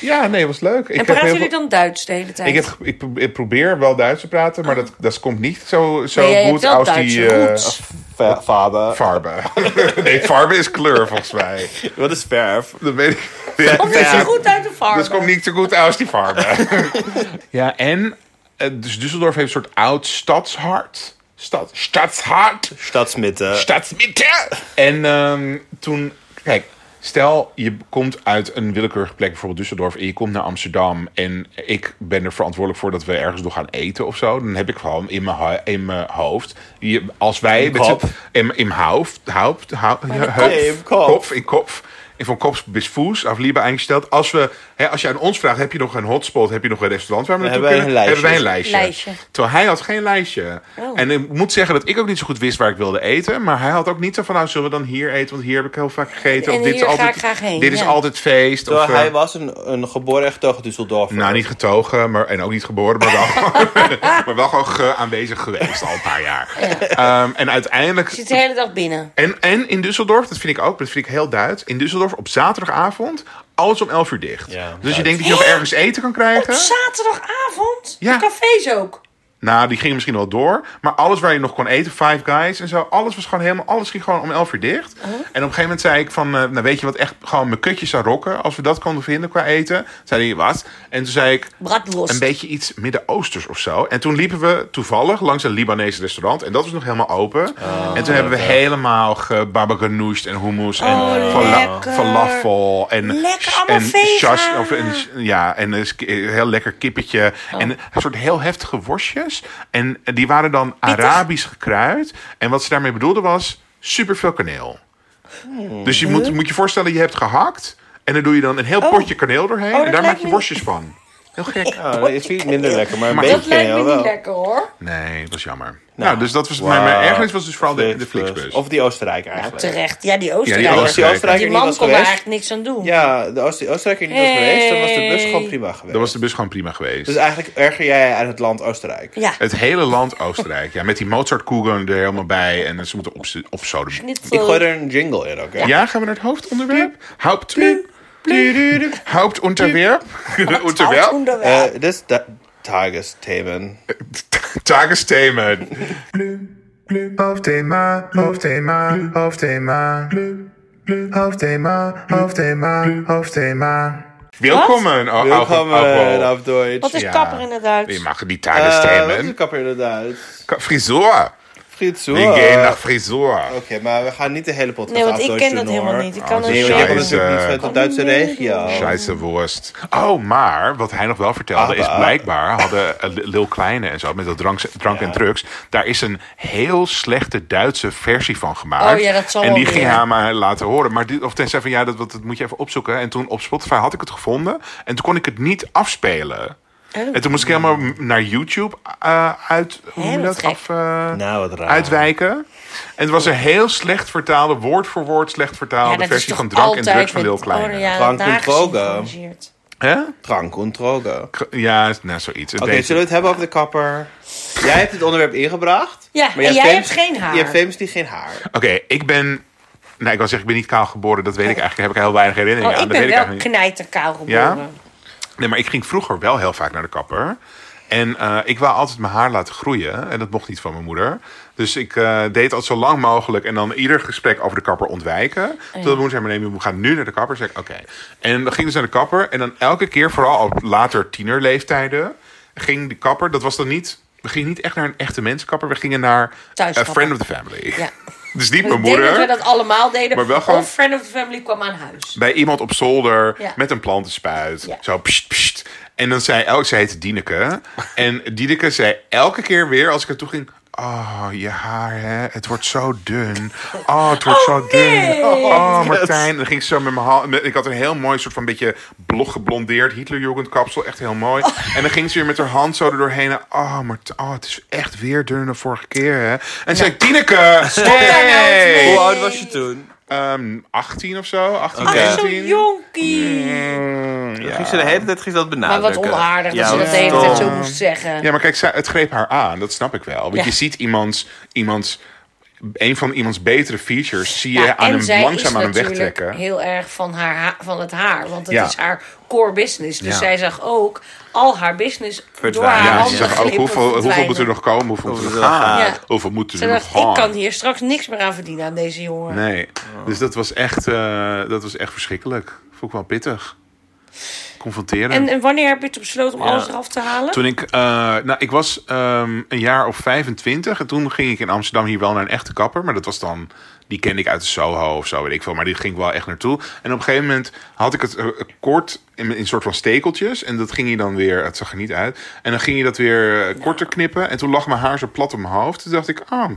C: ja, nee, was leuk. Ik
B: En
C: heel
B: praten jullie
C: veel-
B: dan Duits de hele tijd?
C: Ik, heb, ge- ik pro- ik probeer wel Duits te praten, maar dat, dat komt niet zo, zo
B: Nee, jij hebt
C: goed
B: wel
C: als die
B: Duitse
C: eh,
B: roots.
A: Va- Vader.
C: farbe. nee, farbe is kleur volgens mij.
A: Wat is verf?
C: Dat weet ik.
B: Of is ze goed uit de farm?
C: Dus komt niet zo goed uit die farmen. ja, en eh, dus Düsseldorf heeft een soort oud stadshart. Stad, stadshart.
A: Stadsmitten.
C: Stadsmitte. Eh, En ehm, toen, kijk, stel je komt uit een willekeurige plek, bijvoorbeeld Düsseldorf, en je komt naar Amsterdam en ik ben er verantwoordelijk voor dat we ergens nog gaan eten of zo, dan heb ik gewoon in mijn, hu- in mijn hoofd, je, als wij
A: In kop.
C: z'n- in, in mijn hoofd, hoofd, hoofd,
A: kop. Nee, in kop.
C: kop, in kop. In van kops bis Fuß, af Liebe ingesteld. Als, we, hè, als je aan ons vraagt, heb je nog een hotspot? Heb je nog een restaurant waar we
A: Dan
C: naartoe
A: hebben wij
C: kunnen?
A: een
C: Hebben wij een
A: lijstje.
C: lijstje.
D: Lijstje.
C: Terwijl hij had geen lijstje.
B: Oh.
C: En ik moet zeggen dat ik ook niet zo goed wist waar ik wilde eten. Maar hij had ook niet zo van, nou zullen we dan hier eten? Want hier heb ik heel vaak gegeten.
D: En
C: of dit
D: hier
C: is
D: ga
C: altijd,
D: ik graag heen,
C: Dit is
D: ja.
C: altijd feest.
A: Terwijl
C: of, eh,
A: hij was een, een geboren en getogen Düsseldorfer.
C: nou, niet getogen maar, en ook niet geboren, maar wel, maar wel gewoon ge- aanwezig geweest al een paar jaar. Ehm, en uiteindelijk...
D: Zit de hele dag binnen.
C: En, en in Düsseldorf, dat vind ik ook, dat vind ik heel Duits. In Düsseldorf op zaterdagavond alles om 11 uur dicht.
A: Ja,
C: dus
A: Duits.
C: je denkt dat je nog ergens eten kan
B: Op
C: krijgen.
B: zaterdagavond?
C: Ja.
B: De cafés ook.
C: Nou, die gingen misschien wel door. Maar alles waar je nog kon eten, Five Guys en zo. Alles was gewoon helemaal, alles ging gewoon om 11 uur dicht. En op een gegeven moment zei ik van, eh, nou weet je wat echt gewoon mijn kutjes zou rokken. Als we dat konden vinden qua eten. Zei hij, wat? En toen zei ik,
D: Bratwurst.
C: een beetje iets Midden-Oosters of zo. En toen liepen we toevallig langs een Libanese restaurant. En dat was nog helemaal open. en toen hebben we helemaal gebabaganoush en hummus en
B: Oh,
C: fala-
B: lekker.
C: falafel. En,
B: Lekker,
C: en
B: allemaal
C: shas-
B: vegan.
C: of een, ja, en een sk- heel lekker kippetje.
B: Oh.
C: En een soort heel heftige worstjes. En die waren dan Arabisch gekruid. En wat ze daarmee bedoelden was superveel kaneel.
B: Hmm.
C: Dus je moet, moet je voorstellen, je hebt gehakt. En dan doe je dan een heel potje kaneel doorheen.
B: Oh. dat
C: en daar maak
B: lijkt
C: je
B: me-
C: worstjes van. Heel gek.
A: Nou, dat is niet minder lekker, maar een
C: Maar
A: beetje
B: Dat lijkt me
A: heel
B: niet
A: wel.
B: lekker hoor.
C: Nee, dat was jammer. Nou, dus dat was mijn, mijn
A: Wauw.
C: ergernis was dus vooral de, de
A: Flixbus.
C: Flixbus.
A: Of die Oostenrijker
D: Nou,
A: eigenlijk.
D: terecht. Ja, die
C: Ja,
D: Oostenrijker.
C: die
D: Die,
A: Als die
C: Oostenrijker.
A: Oostenrijker niet
D: man
A: was
D: kon er
A: geweest...
D: eigenlijk niks aan doen.
A: Ja, de Oost- die Oostenrijker niet was geweest, dan was de bus gewoon prima geweest.
C: Dan was de bus gewoon prima geweest.
A: Dus eigenlijk erger jij aan het land Oostenrijk.
D: Ja.
C: Het hele land Oostenrijk. Ja, met die Mozartkugeln er helemaal bij. En ze moeten op, op zoden.
D: Niet zo-
A: Ik gooi er een jingle in ook, hè?
C: Ja, gaan we naar het hoofdonderwerp? Haupt... Hauptunterwerp. Unterwerp.
D: Onderwerp.
A: Eh, Dit is de Tagesthemen.
C: Tagesthemen.
E: Hoofdthema, hoofdthema, hoofdthema. Hoofdthema, hoofdthema, hoofdthema.
C: Welkom. Oh,
A: Welkom eh,
C: Welkom.
A: op Deutsch.
B: Wat is kapper in het Duits?
C: Je mag die
A: Eh, Wat is
C: Tagesthemen.
A: kapper inderdaad?
C: Ka- Friseur.
A: Fritsoe.
C: We gaan naar friseur.
A: Oké, maar we gaan niet de hele podcast
B: Nee, want
A: af
B: ik
A: Duits
B: ken
A: doen,
B: dat
A: hoor.
B: helemaal niet. Ik kan
C: Oh,
B: het
A: Nee,
B: niet.
A: want jij
C: Scheisse.
A: komt natuurlijk niet vanuit de Duitse regio.
C: Scheisse worst. Oh, maar wat hij nog wel vertelde is
A: Abba.
C: blijkbaar hadden eh, Lil Kleine en zo met dat drank, drank en drugs. Daar is een heel slechte Duitse versie van gemaakt.
D: Oh ja, dat zal
C: en die
D: wel
C: ging
D: weer.
C: hij maar laten horen. Maar die, of tenzij van ja, dat, dat moet je even opzoeken. En toen op Spotify had ik het gevonden en toen kon ik het niet afspelen.
D: Oh.
C: En toen moest ik helemaal m- naar YouTube eh, uit, hoe noem je
D: wat
C: dat,
D: gek.
C: af, eh,
A: Nou, wat raar.
C: uitwijken. En het was een heel slecht vertaalde, woord voor woord slecht vertaalde versie van drank en drugs van Lil Kleine.
D: oh,
A: Drank en drogen.
B: georganiseerd.
C: Hè?
A: Drank en drogen. Oké,
C: K- Ja, nou zoiets. Het deed-
A: zullen we het hebben over de kapper? Jij hebt het onderwerp ingebracht.
B: Ja, en jij hebt geen haar.
A: Je hebt famous die geen haar.
C: Oké, ik ben... Nou, ik wil zeggen, ik ben niet kaal geboren. Dat weet ik eigenlijk. Daar heb ik heel weinig herinnering
B: Oh,
C: aan.
B: ik
C: dat
B: ben
C: weet ik
B: wel
C: eigenlijk niet.
B: knijterkaal
C: Ja?
B: geboren.
C: Nee, maar ik ging vroeger wel heel vaak naar de kapper. En eh, ik wou altijd mijn haar laten groeien. En dat mocht niet van mijn moeder. Dus ik eh, deed het altijd zo lang mogelijk. En dan ieder gesprek over de kapper
B: Oh,
C: ontwijken. Toen mijn moeder zei, maar nee, we gaan nu naar de kapper. Zeg ik, oké. En dan gingen ze naar de kapper. En dan elke keer, vooral op later tienerleeftijden... ging de kapper, dat was dan niet... We gingen niet echt naar een echte mensenkapper. We gingen naar
D: Thuiskapper.
C: a friend of the family.
D: Ja.
C: Dus niet mijn
B: Ik denk
C: moeder.
B: dat we dat allemaal deden.
C: Maar wel gewoon-
B: Of Friend of the Family kwam aan huis.
C: bij iemand op zolder
B: Ja.
C: met een plantenspuit.
B: Ja.
C: Zo pst, pst. En dan zei elke, ze heette Dieneke. En Dieneke zei elke keer weer als ik er toe ging... Oh, je haar, hè? Het wordt zo dun. Oh, het wordt
B: Oh,
C: zo
B: nee.
C: dun. Oh, Martijn. En dan ging ik zo met mijn hand... met- Ik had een heel mooi soort van beetje blog geblondeerd. Hitlerjugendkapsel, echt heel mooi.
B: Oh.
C: En dan ging ze weer met haar hand zo er doorheen. en, Oh, Martijn, oh, het is echt weer dunner dan vorige keer, hè? En zei ik, Dieneke,
B: nou eens
C: hey!
B: mee. Oh,
A: Hoe oud was je toen?
C: Ehm, 18 of zo, 18,
A: Oké.
B: Ach,
A: Ja.
B: zo'n
C: 19.
B: jonkie.
A: Ja. Ging ze de hele tijd ging ze
D: Maar
A: dat benadrukken.
D: wat onaardig dat
A: Ja,
D: ze dat
A: wat
D: de hele
A: stom.
D: tijd zo moest zeggen.
C: Ja, maar kijk, zij- het greep haar aan. Dat snap ik wel. Want
D: Ja.
C: je ziet iemands, iemands... Een van iemands betere features zie je
D: Ja,
C: aan
D: en zij
C: hem langzaam
D: is
C: aan hem
D: natuurlijk
C: wegtrekken.
D: heel erg van, haar ha- van het haar. Want het
C: Ja.
D: is haar core business. Dus
C: Ja.
D: zij zag ook al haar business door
A: Verdwijnen.
D: haar
A: Ja,
C: Ja, ze
D: handen
C: zeggen ook
D: glippen
C: hoeveel, hoeveel
D: verdwijnen.
C: moet er nog komen, hoeveel moet er nog
A: Hoeveel er
C: gaan.
A: gaan.
D: Ja.
C: Hoeveel moeten
D: Ze
C: er nog
D: dacht, ik kan
C: gaan.
D: hier straks niks meer aan verdienen aan deze jongen.
C: Nee, dus dat was echt, eh, dat was echt verschrikkelijk. Vond ik wel pittig. confronteren.
F: En, en wanneer heb je het besloten om
C: Ja.
F: alles eraf te halen?
C: Toen ik, eh, nou, ik was ehm, een jaar of 25 en toen ging ik in Amsterdam hier wel naar een echte kapper. Maar dat was dan, die kende ik uit de Soho of zo, weet ik veel. Maar die ging ik wel echt naartoe. En op een gegeven moment had ik het eh, kort in, in een soort van stekeltjes. En dat ging je dan weer, het zag er niet uit. En dan ging je dat weer eh, korter knippen. En toen lag mijn haar zo plat op mijn hoofd. Toen dacht ik, ah,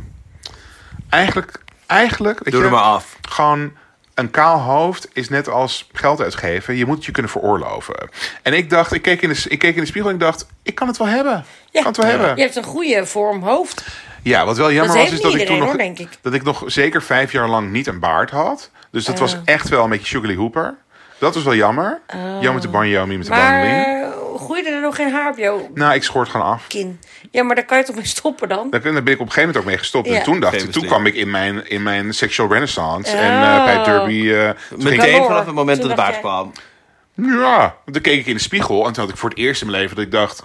C: eigenlijk, eigenlijk. weet
A: Doe
C: je,
A: er maar af.
C: Gewoon een kaal hoofd is net als geld uitgeven. Je moet het je kunnen veroorloven. En ik dacht, ik keek in de, ik keek in de spiegel en ik dacht, ik kan het wel hebben. Ik kan het wel hebben.
B: Je hebt een goede vorm hoofd.
C: Ja, wat wel jammer
B: Dat
C: was,
B: heeft
C: is dat
B: niet
C: ik toen nog,
B: iedereen, hoor, denk ik.
C: dat ik nog zeker vijf jaar lang niet een baard had. Dus dat was echt wel een beetje Sugarly Hooper. Dat was wel jammer. Jammer te banjo, mie met de bandeling.
B: Oh. Maar eh, groeide er nog geen haar op jouw
C: Nou, ik schoor het gewoon af.
B: kin? Ja, maar daar kan je toch mee stoppen dan?
C: Daar ben ik op een gegeven moment ook mee gestopt.
B: Ja.
C: En toen dacht ik,
A: Famously.
C: toen kwam ik in mijn, in mijn sexual renaissance. En
B: Oh.
C: eh, bij Derby. eh toen ging ik-
A: Meteen
B: Galore.
A: vanaf het moment
B: Toen
A: dat de
B: dacht
A: baard
B: jij-
A: kwam.
C: ja, want toen keek ik in de spiegel. En toen had ik voor het eerst in mijn leven dat ik dacht,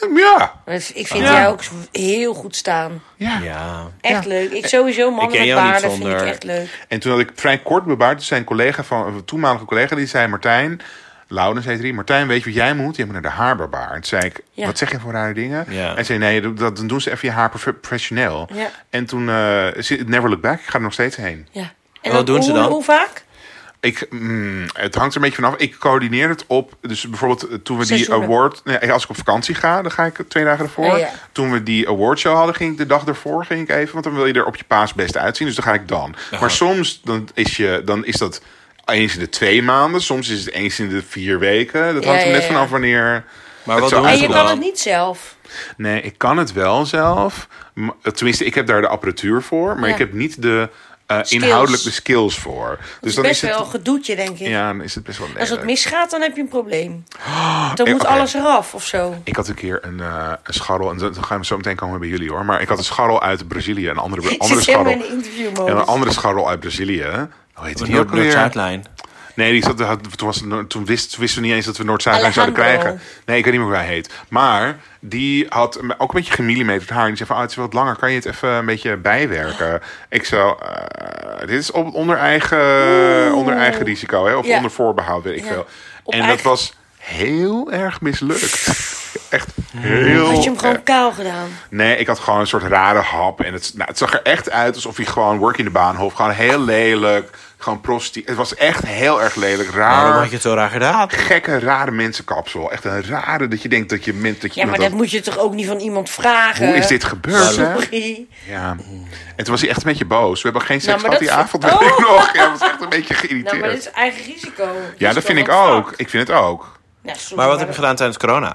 C: "Hm, ja,
B: Ik vind
C: Ja.
B: jou ook heel goed staan.
C: ja.
A: Ja.
B: Echt leuk. Ik sowieso
A: Ik
B: mannen
A: ken
B: met
A: jou niet
B: baarden vind ik
A: zonder-
B: echt leuk.
C: En toen had ik vrij kort bebaard. Toen zei een collega van een toenmalige collega die zei: Martijn, Laurens heet hij, Martijn, weet je wat jij moet? Je moet naar de haarbarbaar. En toen zei ik:
B: Ja.
C: Wat zeg je voor rare dingen?
A: Ja.
C: En hij zei: Nee, dat, dan doen ze even je haar profe- professioneel.
B: Ja.
C: En toen eh, zie- Never Look Back. Ik ga er nog steeds heen.
B: Ja.
A: En wat
B: dan
A: doen ze
B: hoe-
A: dan?
B: Hoe vaak?
C: Ik, mm, het hangt er een beetje vanaf. Ik coördineer het op. Dus bijvoorbeeld eh, toen we die
B: Seizoenen.
C: award. Nee, als ik op vakantie ga, dan ga ik twee dagen ervoor.
B: Oh, ja.
C: Toen we die awardshow hadden, ging ik de dag ervoor ging ik even. Want dan wil je er op je paasbest uitzien. Dus dan ga ik dan. Maar soms dan is, je, dan is dat eens in de twee maanden. Soms is het eens in de vier weken. Dat
B: Ja,
C: hangt er
B: ja,
C: net
B: ja.
C: vanaf wanneer.
A: Maar
C: Het
A: wat
C: zou
A: doen
B: En
C: Als
A: ze
B: je
C: we
B: kan het
A: dan?
B: niet zelf.
C: Dus Nee, ik kan het wel zelf. M- Tenminste, ik heb daar de apparatuur voor. Maar
B: Ja.
C: ik heb niet de eh, inhoudelijk de skills voor. Dus
B: Het is best
C: het.
B: wel een gedoetje, denk ik.
C: Ja, dan is het best wel
B: Als het
C: lelijk.
B: misgaat, dan heb je een probleem. Dan
C: eh,
B: moet
C: oké.
B: alles eraf of zo.
C: Ik had een keer een, eh, een scharrel, en dan dan gaan we zo meteen komen bij jullie hoor. Maar ik had een scharrel uit Brazilië, een andere,
B: Ik
C: andere
B: zit helemaal in de
C: scharrel.
B: interviewmodus.
C: Ja, een andere scharrel uit Brazilië. Hoe heette die ook weer?
A: Noord-Zuidlijn.
C: Nee, die zat, had, toen, was, het Noord- toen wist, toen wisten we niet eens dat we Noord-Zuidlijn zouden
B: Alejandro.
C: krijgen. Nee, ik weet niet meer hoe hij heet. Maar die had een- ook een beetje gemillimeterd haar. En die zei van, oh, het is wat langer, kan je het even een beetje bijwerken? Ik zo, eh, dit is op, onder, eigen, onder eigen risico, hè? of
B: Ja.
C: onder voorbehoud, weet ik
B: Ja.
C: veel.
B: Op
C: en dat
B: eigen-
C: was heel erg mislukt. Echt heel
B: Had je hem
C: erg.
B: gewoon kaal gedaan?
C: Nee, ik had gewoon een soort rare hap. En het, nou, het zag er echt uit alsof hij gewoon work in de baanhof. Gewoon heel lelijk. Gewoon prosti. Het was echt heel erg lelijk.
A: Waarom
C: Raar.
A: had je het zo raar gedaan?
C: Gekke, rare mensenkapsel. Echt een rare dat je denkt dat je... men- Nou, Dat je
B: Ja, maar dat eh,
C: iemand
B: moet je toch ook niet van iemand vragen?
C: Hoe is dit gebeurd, hè?
B: Sorry.
C: Ja. En toen was hij echt een beetje boos. We hebben geen seks
B: Nou, maar
C: gehad die
B: dat-
C: avond. weet
B: Oh!
C: ik nog. Hij was echt een beetje
B: Nou,
C: geïrriteerd.
B: maar dit is eigen risico.
C: ja,
B: Risico
C: dat vind ik
B: van
C: ook.
B: vak.
C: Ik vind het ook.
B: Nou, sorry,
A: Maar wat heb je gedaan tijdens corona?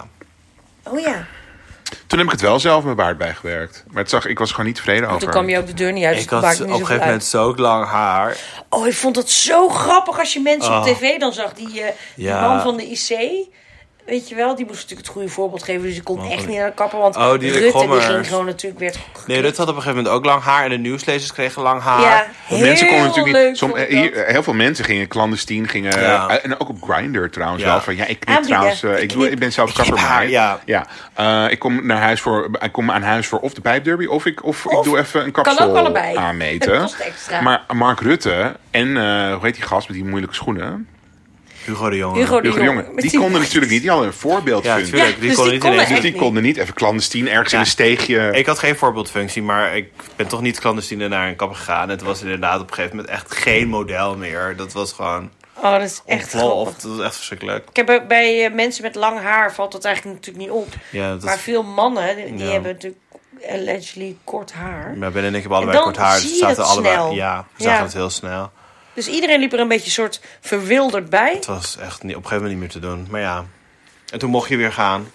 B: Oh ja,
C: Toen heb ik het wel zelf mijn baard bijgewerkt. Maar het zag, ik was gewoon niet tevreden over.
B: toen kwam je ook de deur niet uit. dus
A: Ik
B: het
A: had
B: maakt
A: op
B: niet
A: een gegeven
B: zoveel
A: moment zo
B: uit.
A: lang haar.
B: Oh, ik vond dat zo grappig als je mensen op
A: Oh.
B: tv dan zag. Die, eh, die
A: Ja.
B: man van de IC, weet je wel, die moest natuurlijk het goede voorbeeld geven. Dus die kon echt
A: van-
B: niet naar de kapper. Want
A: Oh, die
B: Rutte die
A: Gommers.
B: ging gewoon natuurlijk weer...
A: Nee, Rutte had op een gegeven moment ook lang haar. En de nieuwslezers kregen lang haar.
B: Ja, heel
C: Want mensen konden natuurlijk
B: leuk
C: niet. Som,
B: vond ik
C: hier,
B: dat.
C: heel veel mensen gingen clandestien. Gingen,
A: Ja.
C: eh, en ook op Grindr trouwens
A: Ja.
C: wel. Van, ja, ik knip
B: Aanbieden.
C: trouwens. eh,
B: Ik
C: ik, doe,
B: knip.
C: ik ben zelf kapper.
A: knip
C: maar-
A: haar, ja.
C: ja. Eh, ik, kom naar huis voor, ik kom aan huis voor of de pijpderby. Of ik, of ik
B: Of-
C: doe even een
B: kan ook
C: kapsel
B: allebei.
C: aanmeten.
B: Het kost extra.
C: Maar Mark Rutte en eh, hoe heet die gast met die moeilijke schoenen?
A: Hugo de Jonge.
B: Hugo de
C: Hugo de
B: Jonge.
C: Jonge.
B: met
C: Die konden natuurlijk niet. Die hadden een
A: Ja,
C: voorbeeldfunctie.
A: tuurlijk.
B: Ja,
A: die
B: dus
A: konden
B: die
A: niet ineens...
B: konden
C: dus
B: echt
C: die
B: niet.
C: konden niet even clandestien ergens in
A: Ja.
C: een steegje.
A: Ik had geen voorbeeldfunctie, maar ik ben toch niet clandestine naar een kapper gegaan. Het was inderdaad op een gegeven moment echt geen model meer. Dat was gewoon
B: Oh, dat is echt grappig.
A: ontploft. Dat was echt verschrikkelijk.
B: Kijk, bij, bij eh, mensen met lang haar valt dat eigenlijk natuurlijk niet op.
A: Ja, dat is-
B: Maar veel mannen, die, die
A: Ja.
B: hebben natuurlijk allegedly kort haar.
A: Maar Ben en ik hebben allebei
B: dan
A: kort haar.
B: zie
A: Dus we
B: je
A: zaten
B: het
A: allebei.
B: snel.
A: Ja, we
B: Ja.
A: zagen het heel snel.
B: Dus iedereen liep er een beetje soort verwilderd bij.
A: Het was echt niet, op een gegeven moment niet meer te doen. Maar ja. En toen mocht je weer gaan.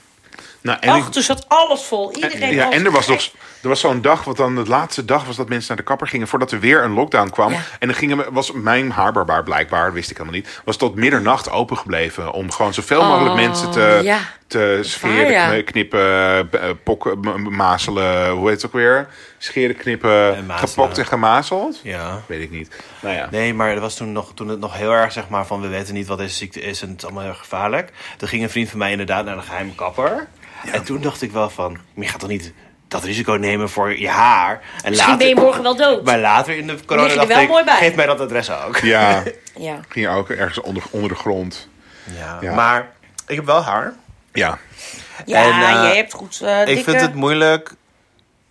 C: Nou, en
B: Ach,
C: ik-
B: dus zat alles vol. Iedereen
C: Ja,
B: was
C: en er was nog
B: gek.
C: er was zo'n dag, wat dan de laatste dag was dat mensen naar de kapper gingen voordat er weer een lockdown kwam.
B: Ja.
C: En dan gingen we, was mijn haarbarbaar blijkbaar, wist ik helemaal niet, was tot middernacht open gebleven om gewoon zoveel mogelijk mensen te,
B: Oh, ja.
C: te scheren,
B: ja.
C: kn- knippen, b- eh, pokken, m- m- mazelen, hoe heet het ook weer? Scheren, knippen,
A: En mazelen.
C: gepokt en gemazeld?
A: Ja.
C: Weet ik niet. Nou ja.
A: Nee, maar er was toen, nog, toen het nog heel erg zeg maar van we weten niet wat deze ziekte is en het is allemaal heel erg gevaarlijk. Toen ging een vriend van mij inderdaad naar een geheime kapper. En toen dacht ik wel van, maar je gaat toch niet dat risico nemen voor je haar. En
B: Misschien ben je morgen wel dood.
A: Maar later in de corona
B: Lig je er
A: dacht
B: wel
A: ik,
B: mooi bij?
A: geef mij dat adres ook.
C: Ja,
B: Ja.
C: ging ook ergens onder, onder de grond.
A: Ja.
C: Ja.
A: Maar ik heb wel haar.
C: Ja.
B: Ja,
A: En, eh,
B: jij hebt goed eh, dikke...
A: Ik vind het moeilijk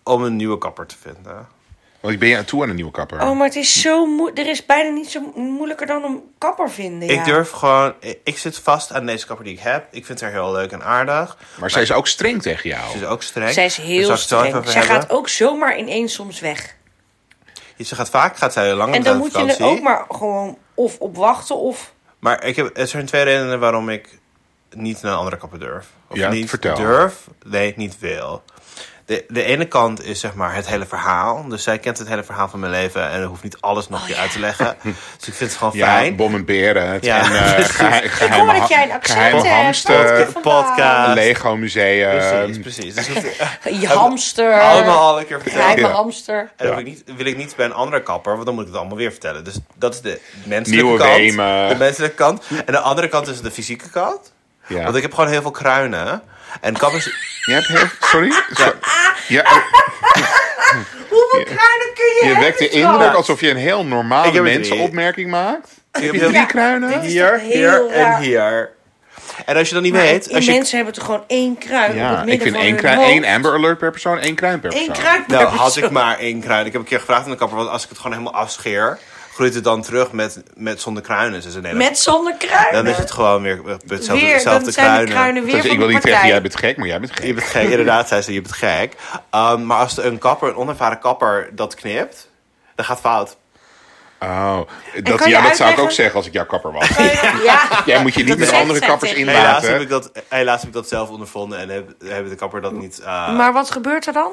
A: om een nieuwe kapper te vinden.
C: Want ik ben je toe aan een nieuwe kapper.
B: Oh, maar het is zo moe... Er is bijna niet zo moeilijker dan een kapper vinden, ja.
A: Ik durf gewoon... ik- Ik zit vast aan deze kapper die ik heb. Ik vind haar heel leuk en aardig.
C: maar zij is ook streng tegen jou.
A: Ze is ook streng.
B: Zij is
A: Daar
B: heel
A: zal ik het zo even
B: streng.
A: over
B: Zij
A: hebben.
B: gaat ook zomaar ineens soms weg.
A: Ze gaat vaak, gaat zij heel lang
B: En
A: op
B: dan moet je er
A: vakantie.
B: ook maar gewoon of op wachten of...
A: Maar ik heb, er zijn twee redenen waarom ik niet naar een andere kapper durf. Of
C: Ja,
A: niet
C: vertel.
A: durf, nee, niet wil. De, de ene kant is zeg maar het hele verhaal. Dus zij kent het hele verhaal van mijn leven en hoeft niet alles nog weer uit te leggen. Dus ik vind het gewoon
C: Ja,
A: fijn.
C: bom en beren. Het
A: Ja,
C: en, eh,
A: precies.
C: gehe-
B: Ik hoor
C: geheime,
B: dat jij een
C: ha-
B: accent
C: geheime
B: hebt. Oh,
C: hamster,
B: Wat-
A: podcast.
C: Lego museum.
A: Precies, precies. Dus dat
B: Je hamster.
A: allemaal al een keer vertellen.
B: Geheime
C: Ja.
B: hamster.
A: En dan
C: Ja.
A: wil ik, niet, wil ik niet bij een andere kapper, want dan moet ik het allemaal weer vertellen. Dus dat is de menselijke
C: Nieuwe
A: kant.
C: wemen.
A: De menselijke kant. En de andere kant is de fysieke kant.
C: Ja.
A: Want ik heb gewoon heel veel kruinen. En kappers...
C: Je hebt heel... Sorry? Zo- Ja,
B: Ah,
C: eh,
B: Hoeveel kruinen kun je
C: je
B: hebben,
C: wekt de
B: schat?
C: indruk alsof je een heel
A: Ik
C: normale
A: heb er
C: mensenopmerking maakt.
A: heb
C: Heb je
A: heel-
C: drie
A: Ja,
C: kruinen?
A: Hier,
B: toch heel
A: hier en
B: raar?
A: hier. En als je dan niet
B: Maar
A: weet...
B: die
A: Als je,
B: mensen hebben toch gewoon één kruin op
C: Ja,
B: het
C: ik
B: midden
C: vind
B: van
C: één,
B: hun
C: kruin,
B: hoofd?
C: één Amber Alert per persoon, één kruin per persoon.
B: Eén kruin per
A: nou, had ik
B: persoon.
A: maar één kruin. Ik heb een keer gevraagd aan de kapper, want als ik het gewoon helemaal afscheer... groeit het dan terug met, met zonder kruinen. Ze zei, nee, dan-
B: Met zonder kruin.
A: dan is het gewoon weer hetzelfde,
B: weer,
A: hetzelfde
B: dan zijn de kruinen weer
C: Dus
B: van
C: ik wil
B: de
C: niet zeggen,
B: partij.
C: jij bent gek, maar jij bent gek.
A: Je bent gek, inderdaad, zei ze, je bent gek. Um, maar als er een kapper, een onervaren kapper, dat knipt, dan gaat fout.
C: Oh,
B: kan
C: dat,
B: je
C: ja, dat zou ik
B: uitleggen- Oh,
C: ook zeggen als ik jouw kapper was.
B: Ja.
C: Jij moet je niet
B: Dat
C: met
B: is echt
C: andere
B: zetting.
C: kappers
A: Helaas heb,
C: inlaten.
A: ik dat, helaas heb ik dat zelf ondervonden en heb, hebben de kapper dat niet... eh,
B: Maar wat gebeurt er dan?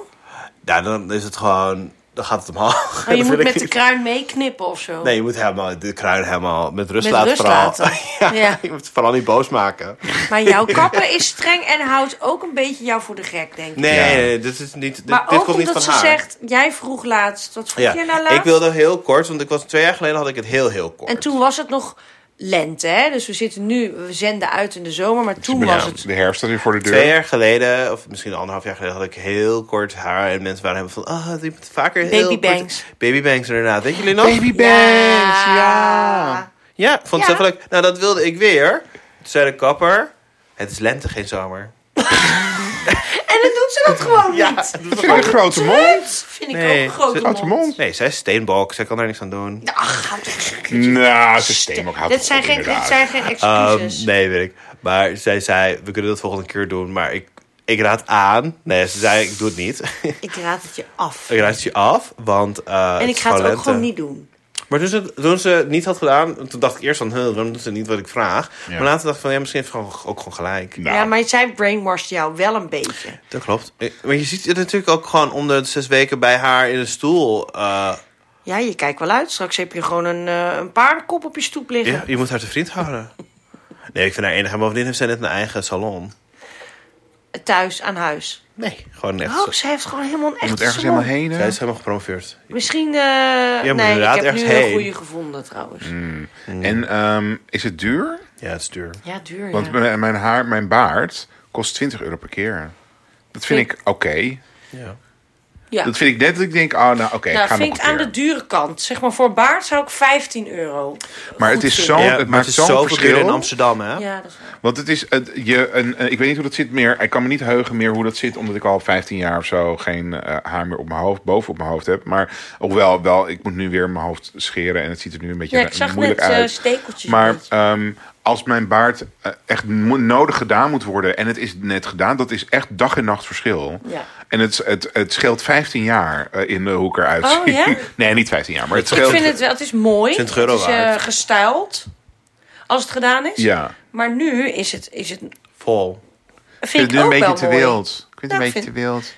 A: nou, dan is het gewoon... Dan gaat het omhoog.
B: Maar Oh, je
A: Dat
B: moet
A: wil ik
B: met de
A: niet.
B: kruin meeknippen of zo.
A: Nee, je moet helemaal, de kruin helemaal met rust
B: Met
A: laten.
B: rust
A: vooral.
B: laten.
A: ja,
B: Ja.
A: je moet het vooral niet boos maken.
B: Maar jouw kapper is streng en houdt ook een beetje jou voor de gek, denk ik.
A: Nee,
C: Ja.
A: nee, dit, is niet, dit,
B: maar
A: dit
B: ook
A: komt niet
B: omdat
A: van
B: ze
A: haar.
B: zegt, jij vroeg laatst. Wat vroeg
A: ja.
B: je nou laatst?
A: Ik wilde heel kort, want ik was, twee jaar geleden had ik het heel, heel kort.
B: En toen was het nog lente, hè? Dus we zitten nu, we zenden uit in de zomer, maar toen was het...
C: nou De herfst staat weer voor de
A: Twee
C: deur.
A: jaar geleden, of misschien anderhalf jaar geleden, had ik heel kort haar. En mensen waren helemaal van, ah, die moet vaker heel
B: Baby
A: kort-
B: bangs.
A: Baby bangs, inderdaad. Weet jullie nog?
C: Baby bands, ja.
A: Ja, ik vond het
B: Ja.
A: zelf leuk. Nou, dat wilde ik weer. Toen zei de kapper, het is lente, geen zomer.
B: En dan doet ze dat gewoon niet.
C: Dat vind ik een grote mond.
B: Dat vind ik
A: Nee,
B: ook een grote
A: ze-
C: Grote
B: mond.
C: mond.
A: Nee, zij is steenbalk. Zij kan daar niks aan doen.
B: Ach, houd toch-
C: Nou, systeem ook houdt
B: dit, zijn
C: op,
B: geen, dit
C: inderdaad.
B: zijn geen
A: Ehm,
B: excuses.
A: nee, weet ik. Maar zij zei, we kunnen dat volgende keer doen. Maar ik, ik raad aan. Nee, ze zei, ik doe het niet.
B: Ik raad het je af.
A: ik raad het je af, want eh,
B: en ik
A: is
B: ga het ook
A: lente.
B: gewoon niet doen.
A: Maar toen ze, toen ze het niet had gedaan, toen dacht ik eerst van, huh, waarom doet ze niet wat ik vraag?
C: Ja.
A: Maar later dacht ik van, ja, misschien heeft ze gewoon, ook gewoon gelijk.
C: Nou,
B: Ja, maar zij brainwashed jou wel een beetje.
A: Dat klopt. Eh, Maar je ziet het natuurlijk ook gewoon om de zes weken bij haar in een stoel. eh,
B: Ja, je kijkt wel uit. Straks heb je gewoon een, eh, een paardenkop op je stoep liggen.
A: ja, je moet haar te vriend houden. Nee, ik vind haar enig. Maar bovendien heeft zij net een eigen salon.
B: Thuis, aan huis.
A: Nee, gewoon echt.
B: Oh, nou? ze heeft gewoon helemaal een
C: je moet
B: echte
C: ergens
B: salon.
C: helemaal heen. hè?
A: Zij is helemaal gepromoveerd.
B: Misschien, eh,
A: moet
B: nee, ik
A: inderdaad
B: heb
A: ergens
B: nu een
A: heen.
B: goede gevonden trouwens.
C: Mm.
A: Mm.
C: En ehm, is het duur?
A: Ja, het is duur.
B: Ja, duur ja.
C: Want mijn mijn haar, mijn baard kost 20 euro per keer. Dat vind ik oké.
A: Ja.
B: Ja.
C: Dat vind ik net dat ik denk, oh nou oké, ik
B: nou,
C: ga nog
B: vind
C: een
B: ik aan
C: keer.
B: de dure kant. Zeg maar, voor baard zou ik 15 euro
C: Maar het
B: goed
C: is
B: vinden.
C: zo,
A: Ja,
C: het
A: maar
C: maakt
A: het is
C: zo'n
A: zoveel duurder in
C: verschil.
A: Amsterdam, hè?
B: Ja, dat is waar.
C: Want het is, het, je, een, eh, ik weet niet hoe dat zit meer. Ik kan me niet heugen meer hoe dat zit, omdat ik al 15 jaar of zo geen eh, haar meer op mijn hoofd, boven op mijn hoofd heb. Maar hoewel, wel, ik moet nu weer mijn hoofd scheren en het ziet er nu een beetje
B: Ja, ik
C: ra-
B: zag
C: moeilijk
B: net, eh,
C: uit.
B: stekeltjes
C: Maar
B: een beetje.
C: ehm, als mijn baard eh, echt mo- nodig gedaan moet worden en het is net gedaan, dat is echt dag en nacht verschil.
B: Ja.
C: En het, het, het scheelt 15 jaar eh, in de hoe ik eruit
B: Oh,
C: zie.
B: ja?
C: Nee, niet 15 jaar, maar het
B: Ik
C: scheelt.
B: vind het wel, het is mooi.
A: 20 euro
B: het is eh,
A: waard.
B: gestyled, als het gedaan is.
C: Ja.
B: Maar nu is het, is het
A: Vol.
C: Ik
B: vind ik
C: vind het nu
B: ook
C: een beetje
B: wel
C: te
B: mooi.
C: wild. Ik vind het
B: Nou,
C: een
B: ik
C: beetje te wild.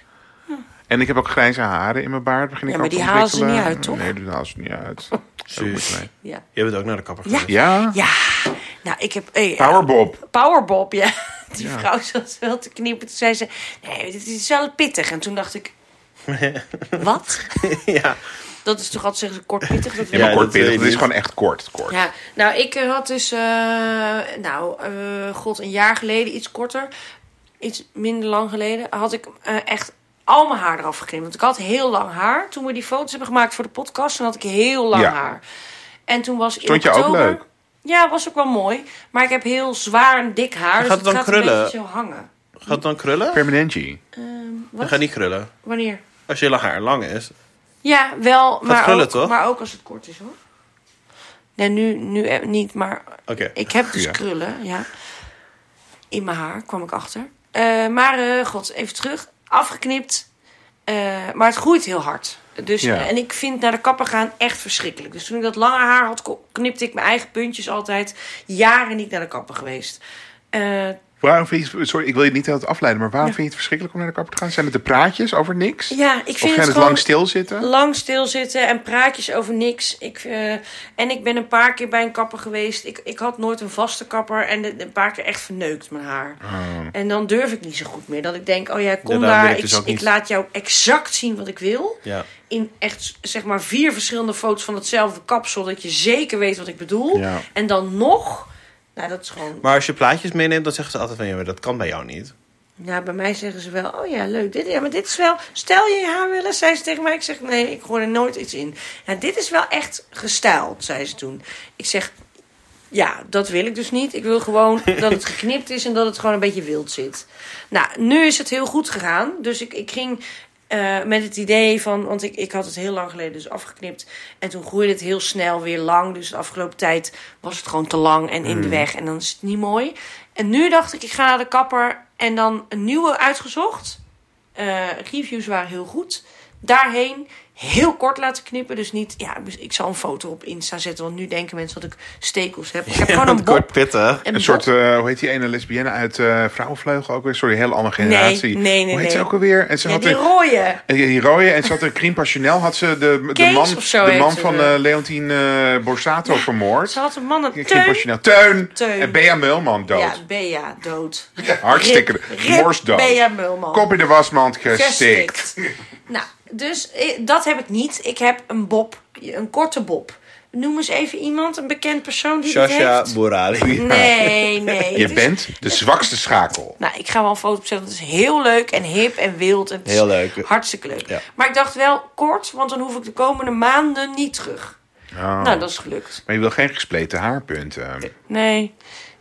C: En ik heb ook grijze haren in mijn baard. Begin ik
B: Ja, maar
C: ook te
B: die halen ze
C: ontwikkelen.
B: niet uit, toch?
C: Nee, die halen ze niet uit. Daar moet ik mee.
B: Ja.
A: Jij bent ook naar de kapper
B: Ja.
A: geweest.
C: Ja,
B: ja, nou ik heb... eh,
C: Powerbob.
B: Powerbob, ja. Die vrouw zat wel te knippen. Toen zei ze, nee, dit is wel pittig. En toen dacht ik, wat?
A: Ja.
B: Dat is toch altijd zeggen ze kort pittig? Dat
C: Ja,
B: wil
C: maar
A: Ja,
C: kort
A: dat weet
C: pittig.
A: ik
C: Het is
A: niet.
C: gewoon echt kort. kort.
B: Ja, nou, ik eh, had dus, eh, nou, eh, god, een jaar geleden, iets korter, iets minder lang geleden, had ik eh, echt al mijn haar eraf geknipt. Want ik had heel lang haar. Toen we die foto's hebben gemaakt voor de podcast, toen had ik heel lang
C: Ja.
B: haar. En toen was in
C: Stond je ook
B: oktober-
C: leuk?
B: Ja, was ook wel mooi. Maar ik heb heel zwaar en dik haar. dus
A: gaat het dan
B: gaat
A: krullen?
B: een beetje zo hangen.
A: Gaat het dan krullen?
C: Permanentje.
B: Ehm,
A: Dat
B: wat?
A: gaat niet krullen.
B: Wanneer?
A: Als je haar lang is.
B: Ja, wel. Maar,
A: krullen,
B: ook,
A: toch?
B: maar ook als het kort is hoor. Nee, nu, nu eh, niet, maar
A: Oké.
B: ik heb dus
C: Ja.
B: krullen, ja. In mijn haar kwam ik achter. Eh, maar, eh, god, even terug. Afgeknipt. Eh, maar het groeit heel hard. Dus,
C: Ja.
B: eh, en ik vind naar de kapper gaan echt verschrikkelijk. Dus toen ik dat lange haar had, ko- knipte ik mijn eigen puntjes altijd. Jaren niet naar de kapper geweest. Eh,
C: Waarom vind je, sorry, ik wil je niet heel het afleiden, maar waarom vind je het verschrikkelijk om naar de kapper te gaan? Zijn het de praatjes over niks?
B: ja, ik vind
C: of gaan
B: het
C: het
B: gewoon...
C: lang stilzitten?
B: lang stilzitten en praatjes over niks. Ik, eh, en ik ben een paar keer bij een kapper geweest. Ik, ik had nooit een vaste kapper en de- een paar keer echt verneukt mijn haar. En dan durf ik niet zo goed meer. Dat ik denk, oh ja, kom
A: Oh. daarom wil
B: daar.
A: ik
B: Ik,
A: dus ook
B: ik
A: niet.
B: laat jou exact zien wat ik wil.
A: Ja.
B: In echt, zeg maar, vier verschillende foto's van hetzelfde kapsel. Dat je zeker weet wat ik bedoel.
C: Ja.
B: En dan nog... Nou, dat is gewoon...
A: Maar als je plaatjes meeneemt, dan zeggen ze altijd van... Ja, maar dat kan bij jou niet.
B: Nou, bij mij zeggen ze wel, oh ja, leuk. Dit, ja, maar dit is wel, stel je je haar willen, zei ze tegen mij. Ik zeg, nee, ik gooi er nooit iets in. Nou, dit is wel echt gestyled, zei ze toen. Ik zeg, ja, dat wil ik dus niet. Ik wil gewoon dat het geknipt is en dat het gewoon een beetje wild zit. Nou, nu is het heel goed gegaan. Dus ik, ik ging eh, met het idee van, want ik, ik had het heel lang geleden dus afgeknipt. En toen groeide het heel snel weer lang. Dus de afgelopen tijd was het gewoon te lang en in de weg. En dan is het niet mooi. En nu dacht ik, ik ga naar de kapper en dan een nieuwe uitgezocht. Eh, reviews waren heel goed. Daarheen heel kort laten knippen. Dus niet, ja, ik zal een foto op Insta zetten. Want nu denken mensen dat ik stekels heb. Ik heb gewoon een
A: kort
B: bob.
A: pittig.
B: Een,
C: Een
B: bob.
C: soort, eh, hoe heet die ene lesbienne uit eh Vrouwenvleugel ook weer? Sorry, een hele andere generatie.
B: Nee, nee, nee,
C: Hoe heet ze
B: nee.
C: ook alweer? En ze
B: Ja,
C: had
B: die
C: een,
B: rode.
C: en die rode Eh, en ze had een crime passionnel. Had ze de, de
B: Kees
C: man,
B: of zo
C: de
B: heet
C: man
B: ze.
C: van eh, Leontine eh, Borsato vermoord.
B: Ze had een man een
C: Crime
B: teun.
C: passionnel. Teun.
B: Teun.
C: En Bea Mulman dood.
B: Ja, Bea, dood.
C: Hartstikke.
B: Rip- rip
C: Morsdood.
B: Bea Mulman.
C: Kop in de wasmand gestikt.
B: gestikt. nou, dus eh, dat heb ik niet. Ik heb een bob, een korte bob. Noem eens even iemand, een bekend persoon die dit
A: Shasha
B: heeft.
A: Borali.
B: Nee, nee. het
C: Je
B: is-
C: bent de zwakste schakel.
B: Nou, ik ga wel een foto opzetten. want Het is heel leuk en hip en wild. En het is
A: Heel leuk.
B: Hartstikke leuk.
A: Ja.
B: Maar ik dacht wel kort, want dan hoef ik de komende maanden niet terug.
A: Oh.
B: Nou, dat is gelukt.
C: Maar je wil geen gespleten haarpunten.
B: Nee.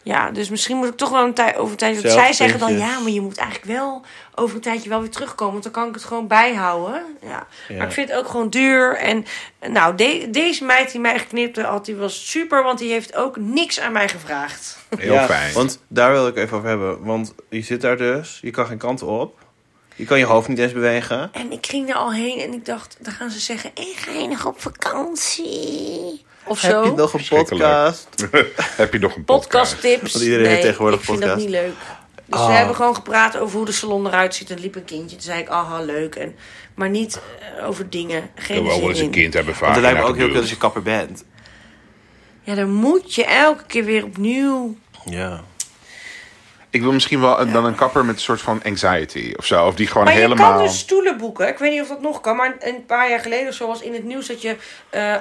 B: Ja, dus misschien moet ik toch wel een tijd over een tijdje. Want
A: Zelf
B: zij zeggen dan
A: puntjes.
B: ja, maar je moet eigenlijk wel over een tijdje wel weer terugkomen. Want dan kan ik het gewoon bijhouden. Ja.
A: Ja.
B: Maar ik vind het ook gewoon duur. En nou, de- deze meid die mij geknipte had, die was super. Want die heeft ook niks aan mij gevraagd.
C: Heel
A: Ja,
C: fijn.
A: Want daar wil ik even over hebben. Want je zit daar dus, je kan geen kant op. Je kan je hoofd niet eens bewegen.
B: En ik ging er al heen en ik dacht, dan gaan ze zeggen, ik ga je nog op vakantie? Of zo.
A: Heb je nog een
C: Verschrikkelijk.
A: podcast?
C: Heb je nog een podcast?
B: Podcasttips.
A: Want iedereen heeft tegenwoordig
B: ik vind
A: podcast.
B: dat niet leuk. Dus we
A: Ah.
B: hebben gewoon gepraat over hoe de salon eruit ziet. En liep een kindje. Toen zei ik, aha, leuk. En, maar niet eh, over dingen.
C: Ik
B: Geen
C: wil wel
B: zin
C: eens een
B: in.
C: kind hebben vaak.
A: Want het lijkt me ook heel
C: Nou,
A: kut als je kapper bent.
B: Ja, dan moet je elke keer weer opnieuw.
A: Ja.
C: Ik wil misschien wel een- dan een kapper met een soort van anxiety of zo. Of die gewoon
B: Maar
C: helemaal...
B: je kan dus stoelen boeken. Ik weet niet of dat nog kan. Maar een paar jaar geleden of zo was in het nieuws dat je... eh,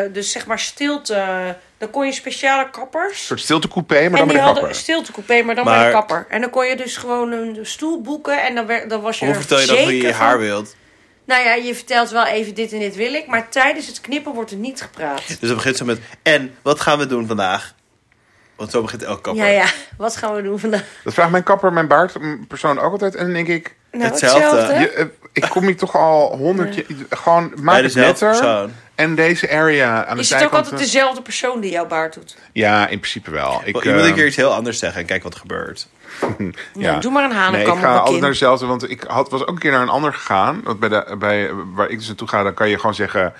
B: eh, dus zeg maar stilte... Dan kon je speciale kappers...
C: Een soort stiltecoupé, maar
B: en
C: dan
B: die
C: met een
B: hadden een
C: kapper.
B: stiltecoupé, maar dan bij
A: Maar-
B: de kapper. En dan kon je dus gewoon een stoel boeken en dan, werd, dan was je
A: Hoe
B: er
A: vertel je dat hoe je je
B: zeker
A: haar
B: van-
A: wilt?
B: Nou ja, je vertelt wel even dit en dit wil ik, maar tijdens het knippen wordt er niet gepraat.
A: Dus dan begint ze met, en, wat gaan we doen vandaag? Want zo begint elke kapper.
B: Ja, ja, wat gaan we doen vandaag?
C: Dat vraagt mijn kapper, mijn baardpersoon ook altijd. En dan denk ik...
B: Nou,
A: Hetzelfde.
C: je, eh, ik kom hier toch al honderd jaar... Gewoon, maak
A: Bij
C: het
A: dezelfde
C: netter.
A: persoon.
C: En deze area aan de
B: Is het ook
C: zijkanten...
B: altijd dezelfde persoon die jouw baard doet?
C: Ja, in principe wel. Ik,
A: Je moet
C: eh,
A: een keer iets heel anders zeggen en kijk wat er gebeurt.
B: Nou, doe maar een
C: Nee, ik
B: hanenkam
C: ga
B: op
C: altijd
B: een
C: naar
B: kin.
C: dezelfde, want ik had, was ook een keer naar een ander gegaan. Want bij de, bij, waar ik dus naartoe ga, dan kan je gewoon zeggen...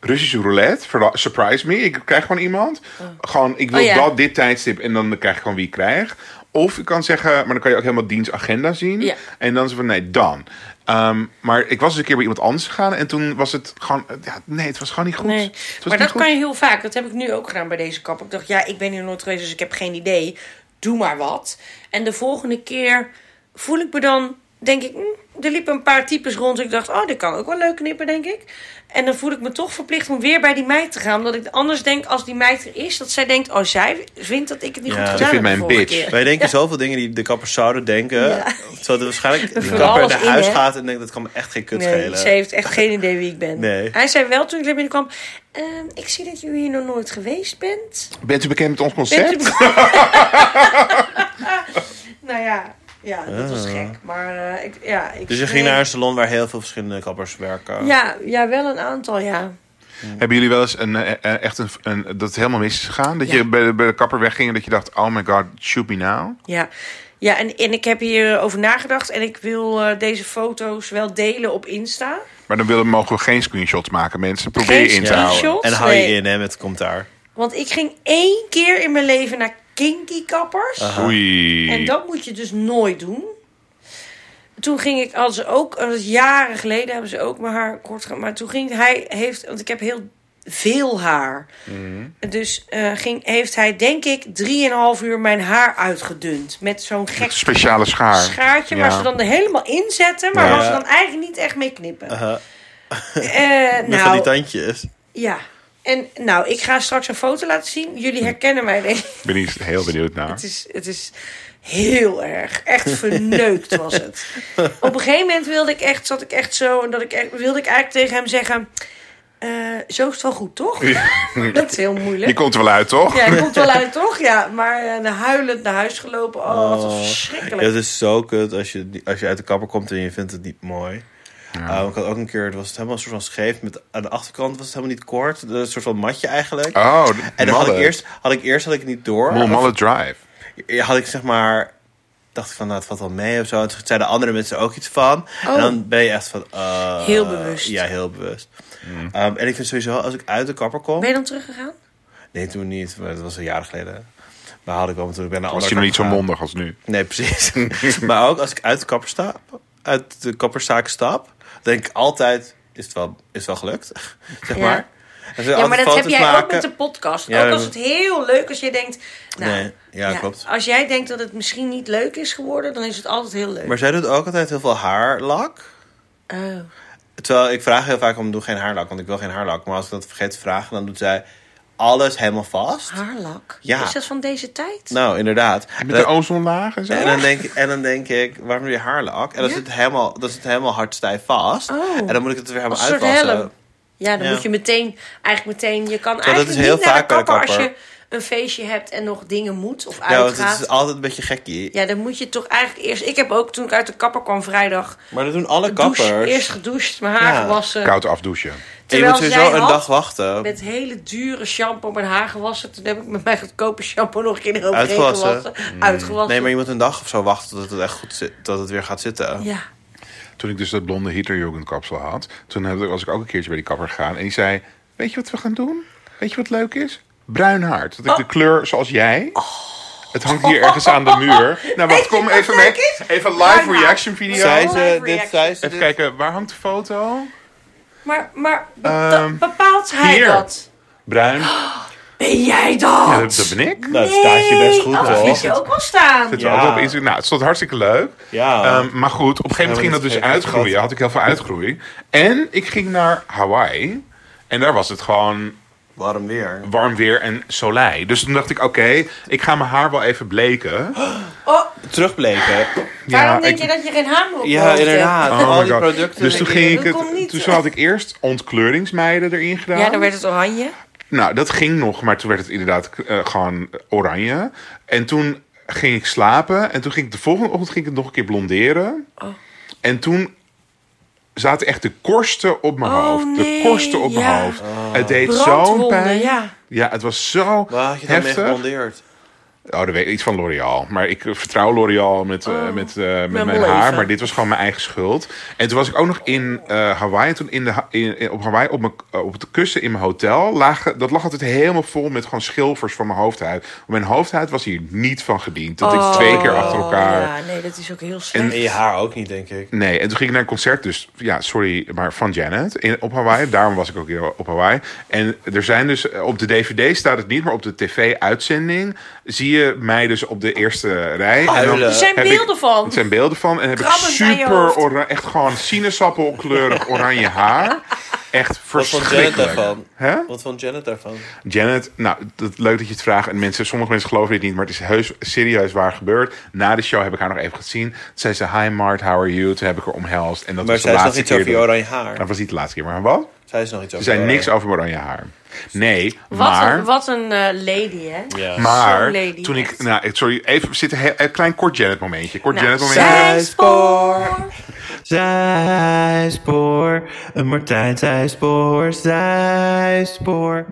C: Russische roulette, verra- surprise me. Ik krijg gewoon iemand. Gewoon, ik wil
B: Oh, ja.
C: dat, dit tijdstip en dan krijg ik gewoon wie ik krijg. Of ik kan zeggen, maar dan kan je ook helemaal dienstagenda zien.
B: Ja.
C: En dan zo van, nee, dan. Ehm, maar ik was eens een keer bij iemand anders gegaan en toen was het gewoon... Ja, nee, het was gewoon niet goed.
B: Nee,
C: Het was
B: maar
C: niet
B: dat
C: goed.
B: kan je heel vaak. Dat heb ik nu ook gedaan bij deze kap. Ik dacht, ja, ik ben hier nooit geweest, dus ik heb geen idee. Doe maar wat. En de volgende keer voel ik me dan denk ik, hm, er liepen een paar types rond. Dus ik dacht, oh, dit kan ook wel leuk knippen, denk ik. En dan voel ik me toch verplicht om weer bij die meid te gaan. Omdat ik anders denk, als die meid er is, dat zij denkt, oh, zij vindt dat ik het niet
A: Ja.
B: goed
A: Ze
B: gedaan heb.
C: vindt mij
B: de
C: een
B: vorige
C: bitch.
B: keer.
A: Wij denken zoveel dingen die de kappers zouden denken. Terwijl er waarschijnlijk de
B: vullen
A: kapper
B: alles
A: naar
B: in,
A: huis
B: hè?
A: gaat en denkt, dat kan me echt geen kut
B: Nee,
A: schelen.
B: ze heeft echt geen idee wie ik ben.
A: Nee.
B: Hij zei wel toen ik er binnenkwam, ehm, ik zie dat jullie hier nog nooit geweest bent.
C: Bent u bekend met ons
B: Bent
C: concept?
B: u- nou ja, ja, dat was gek. Maar eh, ik, ja, ik
A: Ah. Dus je ging
B: nee.
A: naar een salon waar heel veel verschillende kappers werken.
B: Ja, ja, wel een aantal, ja.
C: Hebben jullie wel eens een, eh, eh, echt een, een, dat het helemaal mis is gegaan? Dat je bij de, bij de kapper wegging en dat je dacht, oh my god, shoot me now?
B: Ja, ja en, en ik heb hierover nagedacht. En ik wil eh, deze foto's wel delen op Insta.
C: Maar dan willen, mogen we geen screenshots maken, mensen. Probeer
B: Geen
C: je in te
B: screenshot?
C: houden.
A: En hou je
B: Nee.
A: in hè, met commentaar.
B: Want ik ging één keer in mijn leven naar kinky kappers. En
C: Oei.
B: dat moet je dus nooit doen. Toen ging ik, hadden ze ook, dat is jaren geleden hebben ze ook mijn haar kort gemaakt. Maar toen ging hij, heeft, want ik heb heel veel haar. Dus eh, ging, heeft hij, denk ik, 3,5 uur mijn haar uitgedund. Met zo'n gek
C: Speciale schaar.
B: schaartje waar
C: Ja.
B: ze dan er helemaal in zetten. Maar
C: Ja.
B: waar ze dan eigenlijk niet echt mee knippen.
A: Aha.
B: Eh,
A: Met van die
B: nou,
A: tandjes.
B: ja. En nou, ik ga straks een foto laten zien. Jullie herkennen mij denk ik.
C: Ik ben hier heel benieuwd naar.
B: Het is, het is heel erg. Echt verneukt was het. Op een gegeven moment wilde ik echt, zat ik echt zo. En dat ik echt, wilde ik eigenlijk tegen hem zeggen. eh, zo is het wel goed, toch? Dat is heel
C: Die
B: moeilijk.
C: komt er wel uit, toch?
B: Ja, hij komt wel uit, toch? Ja, maar eh, huilend naar huis gelopen. Oh, wat
A: Oh.
B: verschrikkelijk.
A: Ja, het is zo kut als je, die- als je uit de kapper komt en je vindt het niet mooi. Ah, ik had ook een keer, het was het helemaal een soort van scheef. Met, aan de achterkant was het helemaal niet kort. Een soort van matje eigenlijk.
C: Oh,
A: en dan had ik
C: mallet.
A: eerst, had ik eerst had ik het niet door.
C: Moe,
A: Of-
C: mallet drive.
A: had ik zeg maar. Dacht ik van, nou, het valt wel mee of zo. En toen zeiden andere mensen ook iets van. En dan ben je echt van... eh,
B: Oh. Heel bewust.
A: Ja, heel bewust.
C: Mm.
A: Um, en ik vind sowieso, als ik uit de kapper kom...
B: Ben je dan teruggegaan?
A: Nee, toen niet. Maar dat was een jaar geleden. Maar had ik wel, maar toen ik ben naar
C: Was
A: andere
C: hij nog niet zo
A: kapper
C: mondig als nu?
A: gegaan. Nee, precies. maar ook als ik uit de kapper stap... Uit de kapperzaak stap... Denk ik altijd, is het wel, is het wel gelukt? zeg
B: Ja.
A: maar. En ze
B: Ja, maar
A: altijd
B: dat heb
A: foto's
B: jij ook
A: maken.
B: met de podcast.
A: Ja,
B: ook als
A: we-
B: het heel leuk als je denkt... Nou,
A: Nee, ja, klopt.
B: Als jij denkt dat het misschien niet leuk is geworden... dan is het altijd heel leuk.
A: Maar zij doet ook altijd heel veel haarlak.
B: Oh.
A: Terwijl ik vraag heel vaak om doe geen haarlak, want ik wil geen haarlak. Maar als ik dat vergeet te vragen, dan doet zij alles helemaal vast.
B: Haarlak?
A: Ja.
B: Is dat van deze tijd?
A: Nou, inderdaad. En
C: Met de
A: dan,
C: ozonlaag en zo?
A: en dan denk, en dan denk ik, waarom doe je haarlak? En dan
B: Ja.
A: zit het helemaal, dan zit het helemaal hardstijf vast.
B: Oh.
A: En dan moet ik het er weer helemaal
B: Als een soort
A: uitwassen.
B: helm. Ja, dan
A: Ja.
B: moet je meteen, eigenlijk meteen, je kan
A: is
B: eigenlijk
A: heel
B: niet naar
A: vaak
B: de
A: bij de
B: kapper, als je
A: kapper.
B: een feestje hebt en nog dingen moet of
A: Ja, want het
B: uitgaat.
A: is altijd een beetje gekkie.
B: Ja, dan moet je toch eigenlijk eerst... Ik heb ook, toen ik uit de kapper kwam vrijdag,
A: Maar dat doen alle kappers.
B: douche, eerst gedoucht, mijn haar
A: Ja.
B: gewassen.
C: Koud afdouchen.
A: en je moet
B: Terwijl
A: sowieso
B: zij
A: een
B: had
A: dag wachten.
B: met hele dure shampoo mijn haar gewassen. Toen heb ik met mijn goedkope shampoo nog een keer eroverheen
A: Uitgewassen.
B: gewassen. Uitgewassen.
A: Nee, maar je moet een dag of zo wachten tot het echt goed zit, tot het weer gaat zitten.
B: Ja.
C: Toen ik dus dat blonde Hitlerjugendkapsel had, toen heb ik- was ik ook een keertje bij die kapper gegaan. En die zei, weet je wat we gaan doen? Weet je wat leuk is? Bruin haar. Dat
B: Oh.
C: ik de kleur zoals jij... Het hangt hier ergens aan de muur. Nou, wacht, kom
B: wat
C: even
B: leuk
C: mee.
B: is?
C: Even
B: Bruin
C: live
B: haar.
C: reaction video.
A: Zij ze,
B: Live
A: dit,
B: reaction.
A: zij ze
C: Even
A: dit.
C: kijken, waar hangt de foto?
B: Maar, maar bepa-
C: Ehm,
B: bepaalt hij
C: hier.
B: dat?
C: Bruin.
B: Ben jij dat?
C: Ja, dat, dat ben ik.
A: Nou, het staat je best goed,
B: oh, dat
A: hoor.
B: vind je ook wel staan.
C: Zit er
A: Ja.
C: altijd op Instagram. Nou, het stond hartstikke leuk.
A: Ja.
C: Ehm, maar goed, op een gegeven moment
A: Ja,
C: ging
A: maar
C: dat dus
A: dat vergeet ik
C: uitgroeien. Had ik heel veel uitgroei. En ik ging naar Hawaii. En daar was het gewoon
A: Warm weer.
C: warm weer en soleil. Dus toen dacht ik, oké, ik ga mijn haar wel even bleken.
B: Oh,
A: Terugbleken.
B: waarom denk
C: ik-
B: je dat je geen haar meer op je
A: Ja,
B: hoofd hebt?
A: inderdaad.
C: Oh
A: Al
C: my
A: die
C: god.
A: producten.
C: dus toen ging ik
B: dat komt
C: het,
B: niet.
C: toen had ik eerst ontkleringsmeiden erin gedaan.
B: Ja, dan werd het oranje.
C: Nou, dat ging nog, maar toen werd het inderdaad eh, gewoon oranje. En toen ging ik slapen. En toen ging ik de volgende ochtend ging ik het nog een keer blonderen.
B: Oh.
C: En toen zaten echt de korsten op mijn
B: Oh,
C: hoofd. De
B: nee,
C: korsten op mijn
B: ja.
C: hoofd. Het deed zo'n
B: Brandwonden,
C: pijn.
B: ja.
C: Ja, het was zo
A: Oh. Waar had je dan mee
C: heftig. Oh,
A: geblondeerd?
C: dat weet ik iets van L'Oreal. Maar ik eh, vertrouw L'Oreal met, eh, met, eh, met
B: Oh. Mijn
C: mijn
B: leven.
C: haar. Maar dit was gewoon mijn eigen schuld. En toen was ik ook nog in eh, Hawaii. Toen in de, ha- in, in- op Hawaii op, mijn, eh, op het kussen in mijn hotel. Lagen, dat lag altijd helemaal vol met gewoon schilfers van mijn hoofdhuid. Mijn hoofdhuid was hier niet van gediend. Dat
B: Oh.
C: ik twee keer achter elkaar...
B: Ja, nee, dat is ook heel slecht.
A: En je haar ook niet, denk ik.
C: Nee, en toen ging ik naar een concert, dus ja, sorry, maar van Janet in, op Hawaii. Daarom was ik ook hier op Hawaii. En er zijn dus, eh, op de DVD staat het niet, maar op de tv-uitzending zie zie je mij dus op de eerste rij. En
A: Huilen.
C: dan
G: Er zijn
C: heb ik-
G: beelden van.
C: Het zijn beelden van. En heb ik
G: Krabbend aan je
C: super
G: hoofd.
C: oranje, echt gewoon sinaasappelkleurig oranje haar. Echt
A: Wat vond Janet
C: verschrikkelijk.
A: daarvan?
C: Hè?
A: Wat vond Janet daarvan?
C: Janet, nou, dat, leuk dat je het vraagt. En mensen, sommige mensen geloven dit niet, maar het is heus serieus waar gebeurd. Na de show heb ik haar nog even gezien. Toen zei ze, hi Mart, how are you? Toen heb ik haar omhelst. En dat
A: Maar
C: was de
A: zij is nog
C: laatste
A: iets
C: keer.
A: over je
C: dat-
A: oranje haar.
C: Dat was niet de laatste keer, maar wat?
A: Zij is nog iets
C: Ze
A: over
C: zei
A: je
C: niks
A: oranje
C: over oranje haar. Nee,
G: Wat
C: maar...
G: een, wat een eh, lady, hè?
A: haar. Ja.
C: Maar
G: Zo'n lady,
C: toen ik,
G: echt.
C: nou, ik- sorry, even zitten heel- een klein kort Janet momentje. Kort
G: Nou,
C: Janet momentje.
G: zij spoor.
H: Zijspoor, een Martijn zijspoor, zijspoor.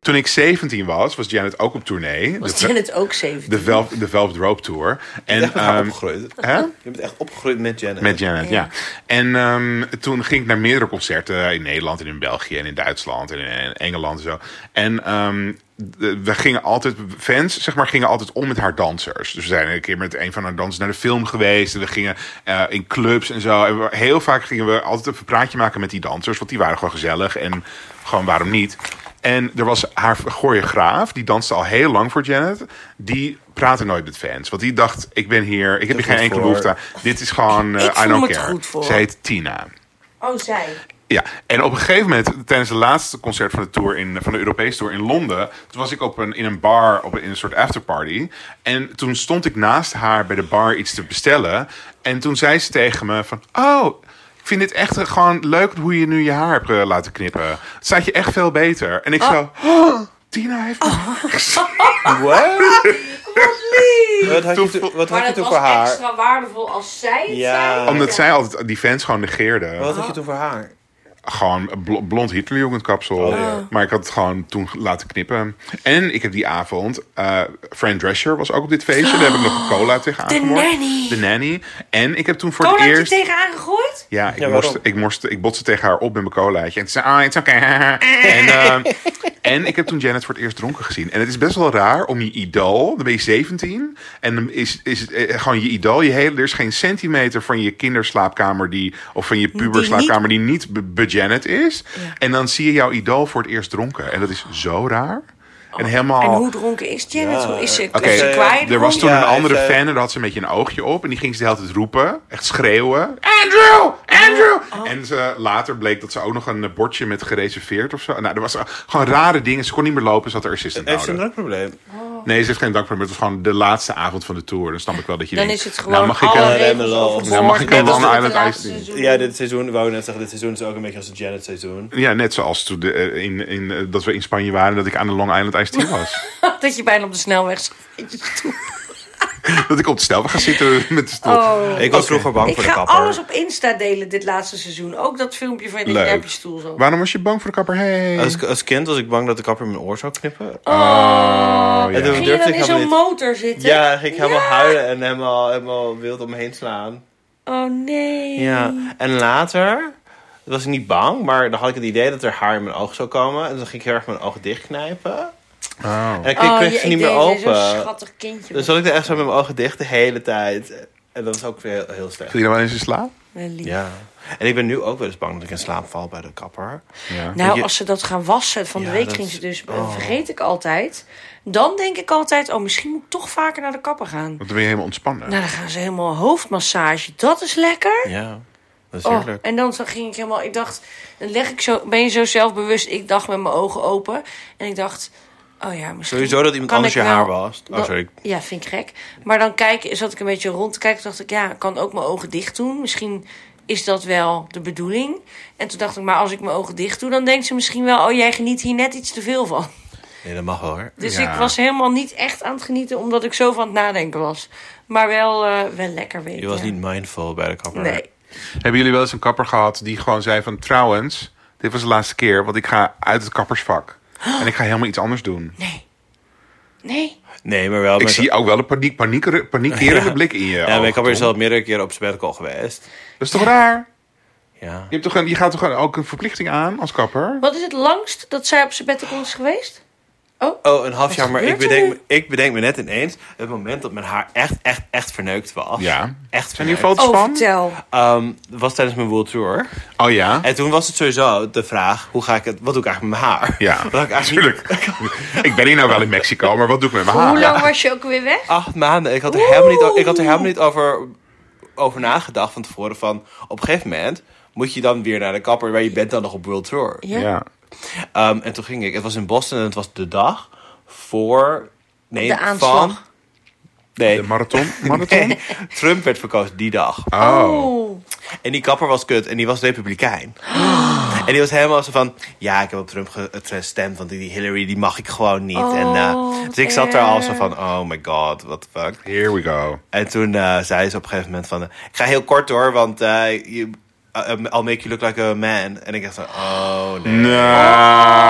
C: Toen ik 17 was, was Janet ook op tournee.
B: Was
C: de,
B: Janet ook 17?
C: de, Velv- de Velvet Rope Tour. En,
A: Je bent echt
C: ehm,
A: opgegroeid.
C: hè?
A: Je bent echt opgegroeid met Janet.
C: Met Janet, ja. En ehm, toen ging ik naar meerdere concerten eh, in Nederland en in België en in Duitsland en in Engeland en zo. En ehm, de- we gingen altijd, fans zeg maar, gingen altijd om met haar dansers. Dus we zijn een keer met een van haar dansers naar de film geweest. En we gingen eh, in clubs en zo. En we- heel vaak gingen we altijd even een praatje maken met die dansers, want die waren gewoon gezellig. En gewoon waarom niet? En er was haar choreograaf, die danste al heel lang voor Janet. Die praatte nooit met fans. Want die dacht, ik ben hier, ik heb hier geen
A: goed
C: enkele
A: voor.
C: behoefte aan. Dit is gewoon eh,
B: Ik voel
C: I don't
B: me
C: care.
B: het goed voor.
C: Ze heet Tina.
G: Oh, zij.
C: Ja, en op een gegeven moment, tijdens het laatste concert van de, tour in, van de Europese tour in Londen, toen was ik op een, in een bar, op een, in een soort afterparty. En toen stond ik naast haar bij de bar iets te bestellen. En toen zei ze tegen me van, oh, ik vind dit echt gewoon leuk hoe je nu je haar hebt eh, laten knippen. Het staat je echt veel beter. En ik
B: Ah.
C: zo, "Oh, Tina heeft mijn haar."
A: What? Wat had
C: Toen
A: je toen-
C: vo-
A: wat had
G: Maar dat
A: je
G: was
A: toen voor haar?
G: extra waardevol als zij het
A: Ja.
G: zei.
C: Omdat zij altijd die fans gewoon negeerde.
A: Wat
B: Oh.
A: had je toen voor haar?
C: Gewoon een bl- blond Hitlerjugendkapsel. Maar ik had het gewoon toen laten knippen. En ik heb die avond... eh Fran Drescher was ook op dit feestje. Daar heb ik nog een cola tegen aangemoord.
B: nanny.
C: De nanny. En ik heb toen voor
G: Cola
C: het
G: heb je
C: eerst...
G: tegenaan gegooid?
C: Ja, ik,
A: Ja, waarom?
C: morste, ik, morste, ik botste tegen haar op met mijn colaatje. En ze zei, ah, it's okay. En, eh, en ik heb toen Janet voor het eerst dronken gezien. En het is best wel raar om je idool, dan ben je 17... en dan is, is het eh, gewoon je idool, je hele, er is geen centimeter van je kinderslaapkamer... Die, of van je puberslaapkamer die niet be- bejanet is. En dan zie je jouw idool voor het eerst dronken. En dat is zo raar. En helemaal...
B: En hoe dronken is Janet?
A: Ja.
B: Hoe is ze?
C: Oh. Oké,
B: is Dus ze
A: eh,
B: kwijt?
C: er was toen
A: Ja,
C: een
A: hij
C: andere
A: heeft, eh,
C: fan en daar had ze een beetje een oogje op. En die ging ze de hele tijd roepen. Echt schreeuwen. Andrew! Andrew!
B: Oh.
C: Oh. En ze, later bleek dat ze ook nog een eh, bordje met gereserveerd of zo. Nou, er was eh, gewoon rare dingen. Ze kon niet meer lopen, ze had haar assistant
A: Heeft ze
C: nodig.
A: een drankprobleem?
C: Nee, ze heeft geen dankbaar. Maar het was gewoon de laatste avond van de tour. Dan snap ik wel dat je
B: Dan
C: denkt...
B: is het
C: nou,
B: gewoon
C: mag ik
B: alle
C: een-
A: eh,
B: regels
A: nou,
B: over
C: nou, mag ik een
A: Net als
C: Long
A: de-
C: Island Ice doen?
A: Ja, dit seizoen, wou ik net zeggen, dit seizoen is ook een beetje als het Janet seizoen.
C: Ja, net zoals toen de, eh, in, in, eh, dat we in Spanje waren... dat ik aan de Long Island Ice Tea was.
B: dat je bijna op de snelweg zit.
C: dat ik op de snelweg ga zitten met de stoel.
B: Oh.
A: Ik was vroeger bang
B: Ik
A: voor de
B: ga
A: kapper.
B: alles op Insta delen dit laatste seizoen. Ook dat filmpje van je
C: Leuk.
B: op je stoel zo.
C: Waarom was je bang voor de kapper? Hey.
A: Als, als kind was ik bang dat de kapper mijn oor zou knippen. Oh,
C: Oh, ja.
A: en toen
B: Ging je
A: durfde
B: dan
A: ik
B: in
A: helemaal
B: zo'n
A: niet.
B: motor zitten?
A: Ja, dan ging ik helemaal huilen en helemaal, helemaal wild om me heen slaan.
B: Oh nee.
A: Ja. En later was ik niet bang, maar dan had ik het idee dat er haar in mijn oog zou komen. En dan ging ik heel erg mijn oog dichtknijpen.
C: Oh.
A: En dan kreeg
B: Oh,
A: ik
B: je-
A: ze niet
B: ik
A: meer
B: deed- jij
A: open.
B: Zo'n schattig kindje.
A: Dus zat ik er echt zo met mijn ogen dicht de hele tijd. En dat is ook weer heel, heel slecht.
C: Viel je dan wel eens in slaap?
B: Wel lief.
A: Ja. En ik ben nu ook wel eens bang dat ik in slaap val bij de kapper.
C: Ja.
B: Nou,
A: je-
B: als ze dat gaan wassen, van
A: Ja,
B: de week
A: dat
B: ging
A: is- oh.
B: ze dus, eh, vergeet ik altijd. Dan denk ik altijd, oh misschien moet ik toch vaker naar de kapper gaan.
C: Want dan ben je helemaal ontspannen.
B: Nou, dan gaan ze helemaal hoofdmassage. Dat is lekker.
A: Ja, dat is
B: Oh,
A: heerlijk.
B: en dan zo ging ik helemaal, ik dacht, dan leg ik zo, ben je zo zelfbewust. Ik dacht met mijn ogen open. En ik dacht, oh ja, misschien.
A: Sowieso dat iemand
B: kan
A: anders je
B: ik wel-
A: haar wast. Oh,
B: dan-
A: sorry.
B: Ja, vind ik gek. Maar dan kijk, zat ik een beetje rond te kijken. Toen dacht ik, ja, ik kan ook mijn ogen dicht doen. Misschien is dat wel de bedoeling. En toen dacht ik, maar als ik mijn ogen dicht doe, dan denkt ze misschien wel, oh jij geniet hier net iets te veel van.
A: Nee, dat mag wel hoor.
B: Dus
C: Ja.
B: ik was helemaal niet echt aan het genieten, omdat ik zo van het nadenken was. Maar wel, eh, wel lekker weten.
A: Je was niet mindful bij de kapper.
B: Nee.
C: Hebben jullie wel eens een kapper gehad die gewoon zei van... trouwens, dit was de laatste keer, want ik ga uit het kappersvak. En ik ga helemaal iets anders doen.
B: Nee.
A: Nee, maar wel.
C: Ik
A: met-
C: zie ook wel de paniek, panieker- paniekerende
A: Ja.
C: blik in je
A: Ja, maar
C: ogen,
A: ik heb er
C: Tom.
A: zelf meerdere keren op sabbatical geweest.
C: Dat is toch raar?
A: Ja.
C: Je, hebt toch een, je gaat toch een- ook een verplichting aan als kapper?
B: Wat is het langst dat zij op sabbatical is geweest?
D: Oh,
A: Oh, een half jaar, maar ik
D: gebeurt er
A: bedenk,
D: nu?
A: me- ik bedenk me net ineens het moment dat mijn haar echt, echt, echt verneukt was.
C: Ja.
A: Echt
C: Zijn hier
A: verneukt.
C: foto's
D: oh
C: van?
D: vertel.
A: Ehm, was tijdens mijn World Tour.
C: Oh ja.
A: En toen was het sowieso de vraag, hoe ga ik het, wat doe ik eigenlijk met mijn haar?
C: Ja,
A: Wat had ik eigenlijk niet-
C: natuurlijk. ik ben hier nou wel in Mexico, maar wat doe ik met mijn haar?
D: Hoe lang was je ook weer weg?
A: acht maanden. Ik had er helemaal niet, o- ik had er helemaal niet over, over nagedacht van tevoren. Van, op een gegeven moment moet je dan weer naar de kapper, waar je bent dan nog op World Tour.
C: Ja. Ja.
A: Ehm, en toen ging ik. Het was in Boston en het was de dag voor. Nee,
D: De
A: van.
D: aanslag.
A: Nee,
C: De marathon? marathon?
A: nee, Trump werd verkozen die dag.
C: Oh.
D: Oeh.
A: En die kapper was kut en die was republikein. En die was helemaal zo van... Ja, ik heb op Trump ge- eh, gestemd, want die Hillary die mag ik gewoon niet. en, eh,
D: wat
A: dus ik zat daar al zo
D: erg.
A: van... Oh my god, what the fuck.
C: Here we go.
A: En toen eh, zei ze op een gegeven moment van... eh, ik ga heel kort hoor, want eh you, eh, I'll make you look like a man. En ik dacht van... Oh nee. Oh.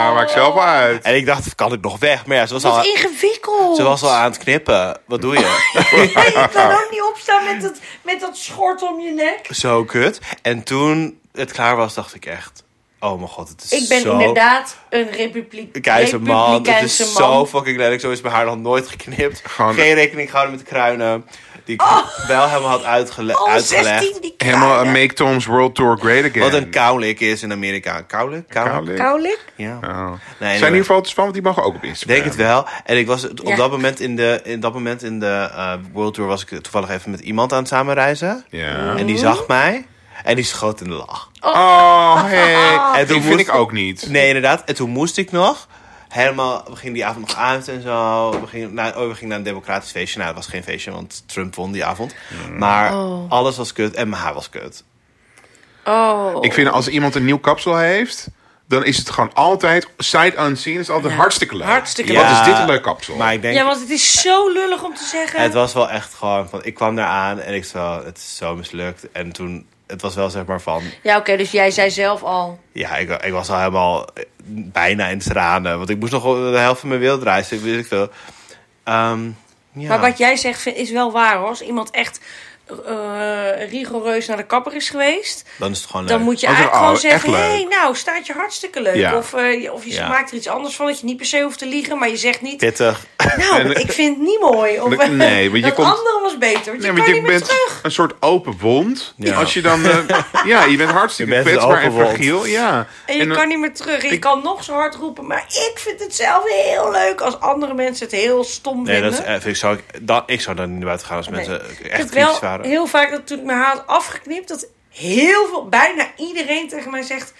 C: Nou, maak zelf uit.
A: En ik dacht, kan ik nog weg? Maar ja, ze was, al,
D: Wat ingewikkeld.
A: Ah, ze was al aan het knippen. Wat doe je?
B: Nee, je kan ook niet opstaan met dat, met dat schort om je nek.
A: zo kut. En toen het klaar was, dacht ik echt... Oh mijn god, het is
D: Ik ben
A: zo
D: inderdaad een republiek.
A: Keizerman. Het is
D: Republikeinse man.
A: zo fucking lelijk. Zo is mijn haar nog nooit geknipt.
C: Gewoon-
A: Geen rekening gehouden met de kruinen. Die ik wel helemaal had uitgele-
D: Oh,
A: uitgelegd.
D: 16 die
C: Helemaal een Make Tom's World Tour Great Again.
A: Wat een kauwlik is in Amerika. Een Kauwlik? Kauwlik?
C: Koude.
D: Kauwlik?
A: Ja.
C: Oh.
A: Nee,
C: Zijn hier
A: anyway.
C: foto's van? Want die mogen ook op Instagram.
A: Denk het wel. En ik was op
D: Ja.
A: dat moment in de, in dat moment in de eh, World Tour was ik toevallig even met iemand aan het samenreizen.
C: Ja.
A: En die zag mij. En die schoot in de lach.
C: Oh, hey.
A: En toen
C: En die vind
A: moest-
C: ik ook niet.
A: Nee, inderdaad. En toen moest ik nog. Helemaal, we gingen die avond nog uit en zo. We gingen, naar, oh, we gingen naar een democratisch feestje. Nou, dat was geen feestje, want Trump won die avond.
C: Mm.
A: Maar
B: Oh.
A: alles was kut en mijn haar was kut.
D: Oh.
C: Ik vind als iemand een nieuw kapsel heeft, dan is het gewoon altijd sight unseen. Is het altijd hartstikke leuk.
D: Hartstikke
C: Wat
A: leuk.
C: is dit
A: Ja.
C: een leuk kapsel?
A: Eh, Maar ik denk,
B: Ja, want het is zo lullig om te zeggen.
A: het was wel echt gewoon van... Ik kwam daar aan en ik zo, het is zo mislukt. En toen, het was wel zeg maar van...
D: Ja, oké, dus jij zei zelf al.
A: Ja, ik, ik was al helemaal eh, bijna in tranen. Want ik moest nog wel de helft van mijn wereldreis. Ik weet ik veel. Ehm, ja.
B: Maar wat jij zegt vind- is wel waar hoor. Als iemand echt eh, rigoureus naar de kapper is geweest,
A: Dan is het gewoon leuk.
B: dan moet je
C: Ook
B: eigenlijk
C: wel,
B: gewoon
C: oh, echt
B: zeggen: hé, hey,
C: leuk.
B: nou staat je hartstikke leuk.
C: Ja.
B: Of, eh, je- of je
A: Ja.
B: maakt er iets anders van dat je niet per se hoeft te liegen, maar je zegt niet:
A: Pittig.
B: Nou,
C: En-
B: ik vind het niet mooi. Of
C: Nee, want je
B: dat
C: komt-
B: andere was beter. Want je
C: want
B: kan niet meer terug.
C: een soort open wond.
A: Ja.
C: Als je dan, eh, ja, je bent hartstikke
A: Je bent een
C: kwetsbaar en
A: open wond.
C: fragiel. Ja.
B: En je
C: dan-
B: kan niet meer terug. En je
C: ik-
B: kan nog zo hard roepen. Maar ik vind het zelf heel leuk als andere mensen het heel stom
A: Nee,
B: vinden.
A: dat is, eh, vind ik, zou, ik, dan, ik zou dan niet naar buiten gaan als mensen eh,
B: Nee.
A: echt
B: ik heb
A: kritisch
B: wel
A: waren.
B: heel vaak dat toen ik mijn haar had afgeknipt, dat heel veel, bijna iedereen tegen mij zegt: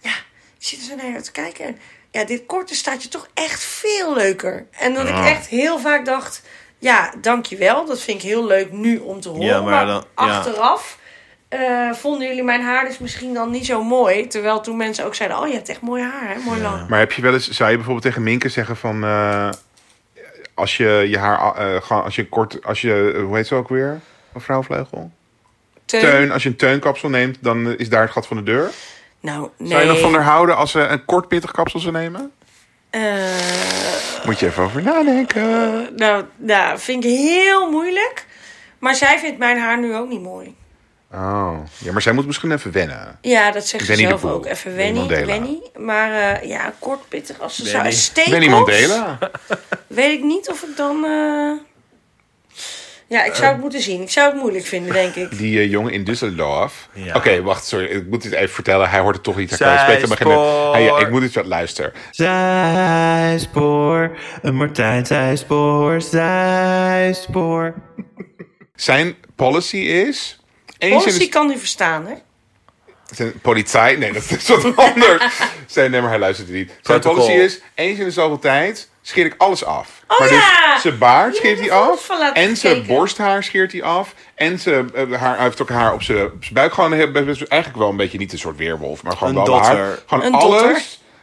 B: Ja, je zit er zo naar je te kijken. En ja, dit korte staat je toch echt veel leuker. En dat ik echt heel vaak dacht: Ja, dankjewel. Dat vind ik heel leuk nu om te horen.
A: Ja, maar
B: maar
A: dan- ja.
B: achteraf. eh, vonden jullie mijn haar dus misschien dan niet zo mooi? Terwijl toen mensen ook zeiden: Oh, je hebt echt mooi haar, hè? mooi lang.
C: Maar heb je wel eens, zou je bijvoorbeeld tegen Minke zeggen van, eh, als je je haar, eh, gewoon als je kort, als je, eh, hoe heet ze ook weer, een vrouwvleugel?
B: Teun.
C: Teun, als je een teunkapsel neemt, dan eh, is daar het gat van de deur.
B: Nou, nee.
C: Zou je nog van haar houden als ze een kort pittig kapsel zou nemen?
B: Eh,
C: Moet je even over nadenken.
B: Nou, nou, vind ik heel moeilijk. Maar zij vindt mijn haar nu ook niet mooi.
C: Oh, ja, maar zij moet misschien even wennen.
B: Ja, dat zegt ze
C: Wenny de
B: zelf
C: Poel.
B: ook. Even
C: Wenny
B: Wenny,
C: Mandela.
B: Wenny. Maar eh, ja, kort, pittig. Als ze zou
A: Wenny.
C: Ik ben
B: steken,
C: iemand delen.
B: weet ik niet of ik dan... eh, Ja, ik zou het moeten zien. Ik zou het moeilijk vinden, denk ik.
C: Die eh, jongen in Düsseldorf.
A: Ja.
C: Oké, wacht, sorry. Ik moet dit even vertellen. Hij hoort het toch niet. Hij kan
A: Zij
C: het beter beginnen.
A: spoor.
C: Hij- ja, ik moet dit wat luisteren.
I: Zijspoor, een Martijn Zijspoor, Zijspoor.
C: Zijn policy is... Eens in
B: Policy
C: de,
B: kan nu verstaan, hè?
C: zijn politie... Nee, dat is wat anders. Zijn, nee, maar hij luistert het niet. Zijn
A: Protocol.
C: policy is... Eens in de zoveel tijd scheer ik alles af.
B: Oh,
C: maar
B: ja!
C: dus zijn baard
B: Je
C: scheert
B: moet
C: hij
B: er vooraf
C: af.
B: van laten
C: En zijn
B: kijken.
C: borsthaar scheert hij af. En zijn eh, haar... Hij heeft ook haar op zijn, op zijn buik. Gewoon heel- best- best- eigenlijk wel een beetje niet een soort weerwolf. Maar gewoon
A: Een
C: wel haar.
A: dotter.
C: Gewoon
B: Een
C: alles...
B: dotter.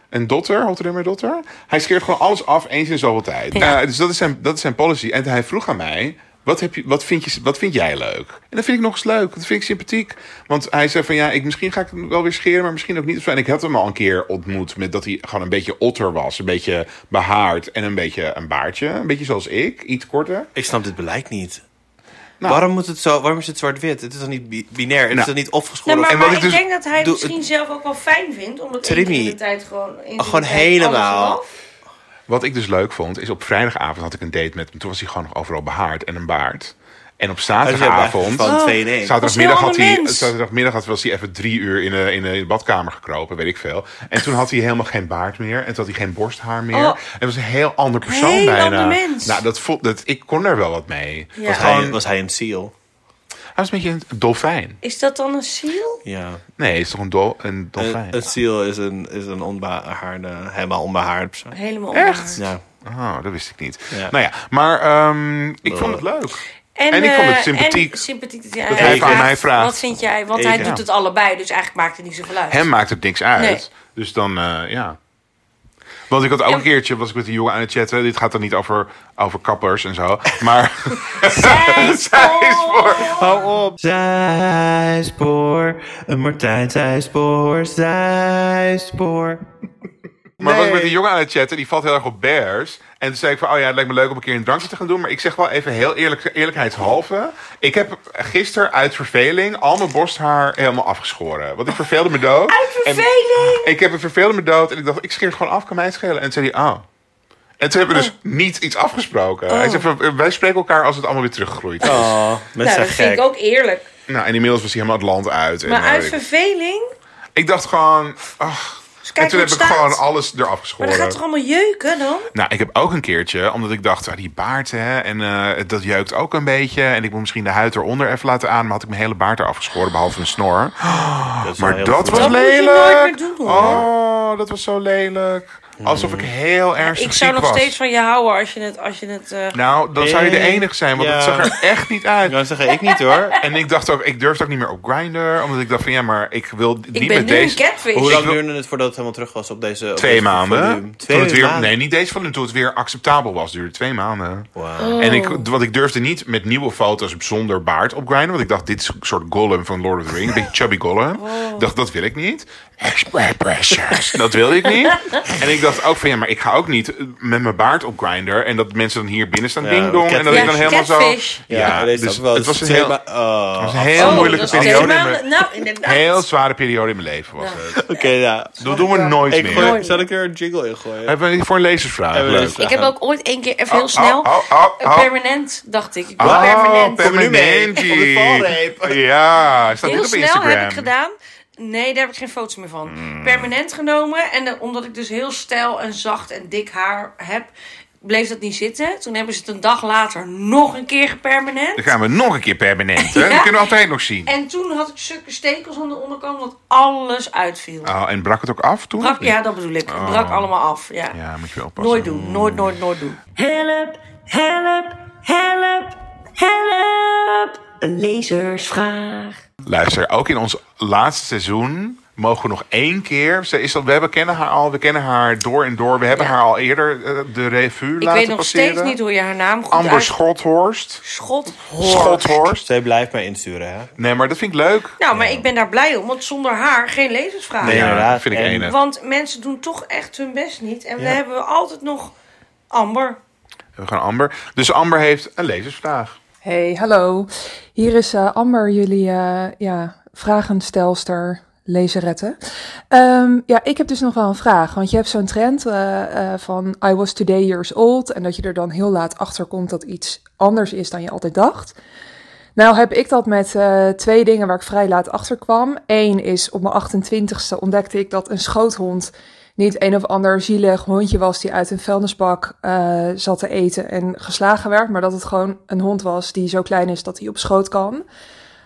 C: Een dotter, hoort er maar dotter. Hij scheert gewoon alles af eens in zoveel tijd. Eh, dus dat is, zijn, dat is zijn policy. En hij vroeg aan mij: wat, heb je, wat, vind je, wat vind jij leuk? En dat vind ik nog eens leuk. Dat vind ik sympathiek. Want hij zei van ja, ik, misschien ga ik hem wel weer scheren, maar misschien ook niet. of zo. En ik had hem al een keer ontmoet met dat hij gewoon een beetje otter was. Een beetje behaard en een beetje een baardje. Een beetje zoals ik, iets korter.
A: Ik snap dit beleid niet.
C: Nou.
A: waarom, moet het zo, waarom is het zwart-wit? Het is dan niet bi- binair? Het is
C: Nou.
A: dan niet
B: Nee,
A: opgeschoren?
B: maar,
C: en wat
B: maar
C: ik
B: ik
C: dus
B: denk dat hij het
A: doe-
B: misschien zelf ook wel fijn vindt. Omdat
A: Trimmy.
B: in de tijd gewoon... één keer in de
A: Gewoon
B: tijd alles
A: helemaal.
B: eraf.
C: Wat ik dus leuk vond, is op vrijdagavond had ik een date met hem. Toen was hij gewoon nog overal behaard en een baard. En op zaterdagavond...
B: Oh.
A: Van 2 in 1.
B: was een heel
C: Zaterdagmiddag had,
B: ander
C: hij,
B: mens.
C: zaterdagmiddag had, was hij even drie uur in de, in de badkamer gekropen, weet ik veel. En toen had hij helemaal geen baard meer. En toen had hij geen borsthaar meer.
B: Oh.
C: En was een heel ander persoon
B: Heel
C: bijna.
B: ander mens.
C: Nou, dat voel, dat, ik kon daar wel wat mee.
B: Ja.
C: Was
A: Was,
C: gewoon,
A: hij, was hij een seal?
C: hij was een beetje een dolfijn.
B: Is dat dan een ziel?
A: Ja.
C: Nee, hij is toch een, dol, een dolfijn?
A: Een, een seal is een, is een onbehaarde, helemaal onbehaard persoon.
B: Helemaal
C: Echt?
B: onbehaard.
A: Ja.
C: Oh, dat wist ik niet.
A: Ja.
C: Nou ja, maar ehm, ik vond het leuk. En ik
B: eh,
C: vond het sympathiek
B: en sympathiek dat, jij-
C: dat
A: hij
C: aan mij vraagt.
B: Wat vind jij? Want
A: Ik,
B: hij
A: ja.
B: doet het allebei, dus eigenlijk maakt het niet zoveel uit.
C: Hem maakt het niks uit.
B: Nee.
C: Dus dan, eh, ja. Want ik had ook een keertje, was ik met die jongen aan het chatten. Dit gaat dan niet over, over kappers en zo. Maar
B: Zij is voor.
I: Zijspoor, een Martijn Zijspoor, Zijspoor.
C: Maar was ik met een jongen aan het chatten, die valt heel erg op bears. En toen zei ik van, oh ja, het lijkt me leuk om een keer een drankje te gaan doen. Maar ik zeg wel even heel eerlijk, eerlijkheidshalve. Ik heb gisteren uit verveling al mijn borsthaar helemaal afgeschoren. Want ik verveelde me dood. Uit
B: verveling?
C: Ah, ik heb het verveelde me dood. En ik dacht, ik scheer het gewoon af, kan mij het schelen. En toen zei hij, oh. En toen hebben we dus
B: Oh.
C: niet iets afgesproken. Hij zei, van, eh, wij spreken elkaar als het allemaal weer teruggroeit.
A: Oh, mensen
B: Nou,
A: zijn
B: dat vind
A: gek.
B: ik ook eerlijk.
C: Nou, en inmiddels was hij helemaal het land uit. En,
B: Maar
C: eh,
B: uit
C: ik-
B: verveling.
C: ik dacht gewoon, ach.
B: Dus
C: En
B: kijk hoe
C: toen heb
B: het
C: ik
B: staat.
C: gewoon alles eraf geschoren.
B: Maar dan gaat toch allemaal jeuken dan?
C: Nou, ik heb ook een keertje, omdat ik dacht, ah, die baard, hè, en eh, dat jeukt ook een beetje. En ik moet misschien de huid eronder even laten aan, maar had ik mijn hele baard eraf geschoren, behalve mijn snor.
A: Dat is wel
C: Maar
A: heel
C: dat
A: goed.
C: was
B: Dat moet je
C: lelijk!
B: nooit meer doen,
C: oh, dat was zo lelijk. Alsof ik heel ernstig
B: Ik zou
C: ziek
B: nog
C: was.
B: steeds van je houden als je het... Als je het eh,
C: Nou, dan zou je de enige zijn, want
A: Ja.
C: het zag er echt niet
A: Ik wou
C: uit.
A: zeggen, ik niet hoor.
C: En ik dacht ook, ik durfde ook niet meer op Grindr, omdat ik dacht van, ja, maar ik wil niet
B: ik ben
C: met
B: nu een
C: deze...
B: catfish.
A: Hoe
C: Ik
A: lang
C: wil-
A: duurde het voordat het helemaal terug was op deze... op
C: Twee
A: deze
C: maanden.
A: volume?
C: Toen het
A: Twee
C: weer,
A: maanden?
C: nee, niet deze van nu, toen het weer acceptabel was, duurde twee maanden.
A: Wauw.
C: En ik,
B: Oh.
C: want ik durfde niet met nieuwe foto's zonder baard op Grindr. Want ik dacht, dit is een soort golem van Lord of the Rings. Een beetje chubby golem.
B: Oh.
C: Ik dacht, dat wil ik niet. Express precious. Dat wilde ik niet. En ik dacht ook van, ja, maar ik ga ook niet eh, met mijn baard op Grindr. En dat mensen dan hier binnen staan
A: Ja,
C: ding dong. En dat ik dan
B: catfish.
C: helemaal zo...
B: Catfish.
A: Ja, deze
C: dus
A: had wel.
C: het was een
A: twee
C: heel,
A: ma- Oh,
C: was een heel
B: Oh,
C: moeilijke
B: dat is
C: periode. in
B: helemaal-
C: mijn-
B: Nou, inderdaad.
C: Heel zware periode in mijn leven was het.
A: Oké, ja.
C: Dat doen we nooit
A: Ik
C: meer.
A: gooi, zal ik er een jingle in gooien?
C: Hebben we voor een lezersvraag?
A: Hebben we
C: Leuk.
A: lezersvraag?
D: Ik heb ook ooit één keer, even heel
C: Oh,
D: snel,
C: oh, oh, oh.
D: een permanent, dacht ik. Ik wil
C: Oh,
D: permanent.
C: permanentie.
A: Op de valreep.
C: Ja, staat
D: Heel
C: ook op
D: snel
C: Instagram. Hmm.
D: heb ik gedaan. Nee, daar heb ik geen foto's meer van. Permanent genomen. En dan- omdat ik dus heel stijl en zacht en dik haar heb, bleef dat niet zitten. Toen hebben ze het een dag later nog een keer gepermanent.
C: Dan gaan we nog een keer permanent. Hè? Dat kunnen we altijd nog zien.
D: En toen had ik stukken stekels aan de onderkant dat alles uitviel.
C: Oh, en brak het ook af toen?
D: Brak, ja, dat bedoel ik. Brak allemaal af. Ja.
C: Oh. Ja, moet je wel oppassen.
D: Nooit doen. Nooit, nooit, nooit doen.
J: Help, help, help, help. Een lezersvraag.
C: Luister, ook in ons laatste seizoen mogen we nog één keer... Ze is al, we hebben, kennen haar al, we kennen haar door en door. We hebben haar al eerder eh, de revue
D: Ik
C: laten
D: weet nog
C: passeren.
D: steeds niet hoe je haar naam goed
C: Amber
D: uit-
C: Schothorst.
D: Schot.
C: Schothorst.
A: Zij blijft mij insturen, hè?
C: Nee, maar dat vind ik leuk.
D: Nou, maar ik ben daar blij om, want zonder haar geen lezersvraag.
A: Nee,
C: ja,
A: inderdaad.
C: vind ik
A: En-
C: enig.
D: Want mensen doen toch echt hun best niet. En we hebben altijd nog Amber.
C: We gaan Amber. Dus Amber heeft een lezersvraag.
K: Hey, hallo. Hier is eh, Amber, jullie eh, ja, vragenstelster, lezerette. Ehm, ja, ik heb dus nog wel een vraag. Want je hebt zo'n trend eh, eh, van I was today years old. En dat je er dan heel laat achter komt dat iets anders is dan je altijd dacht. Nou heb ik dat met eh, twee dingen waar ik vrij laat achter kwam. Eén is op mijn 28ste ontdekte ik dat een schoothond niet een of ander zielig hondje was die uit een vuilnisbak eh, zat te eten en geslagen werd, maar dat het gewoon een hond was die zo klein is dat hij op schoot kan.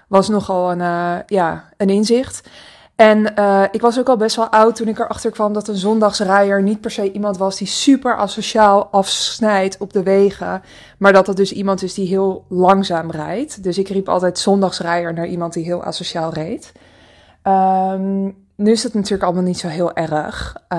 K: Was nogal een, eh, ja, een inzicht. En eh, ik was ook al best wel oud toen ik erachter kwam dat een zondagsrijer niet per se iemand was die super asociaal afsnijdt op de wegen. Maar dat het dus iemand is die heel langzaam rijdt. Dus ik riep altijd zondagsrijer naar iemand die heel asociaal reed. Ehm, nu is dat natuurlijk allemaal niet zo heel erg. Eh,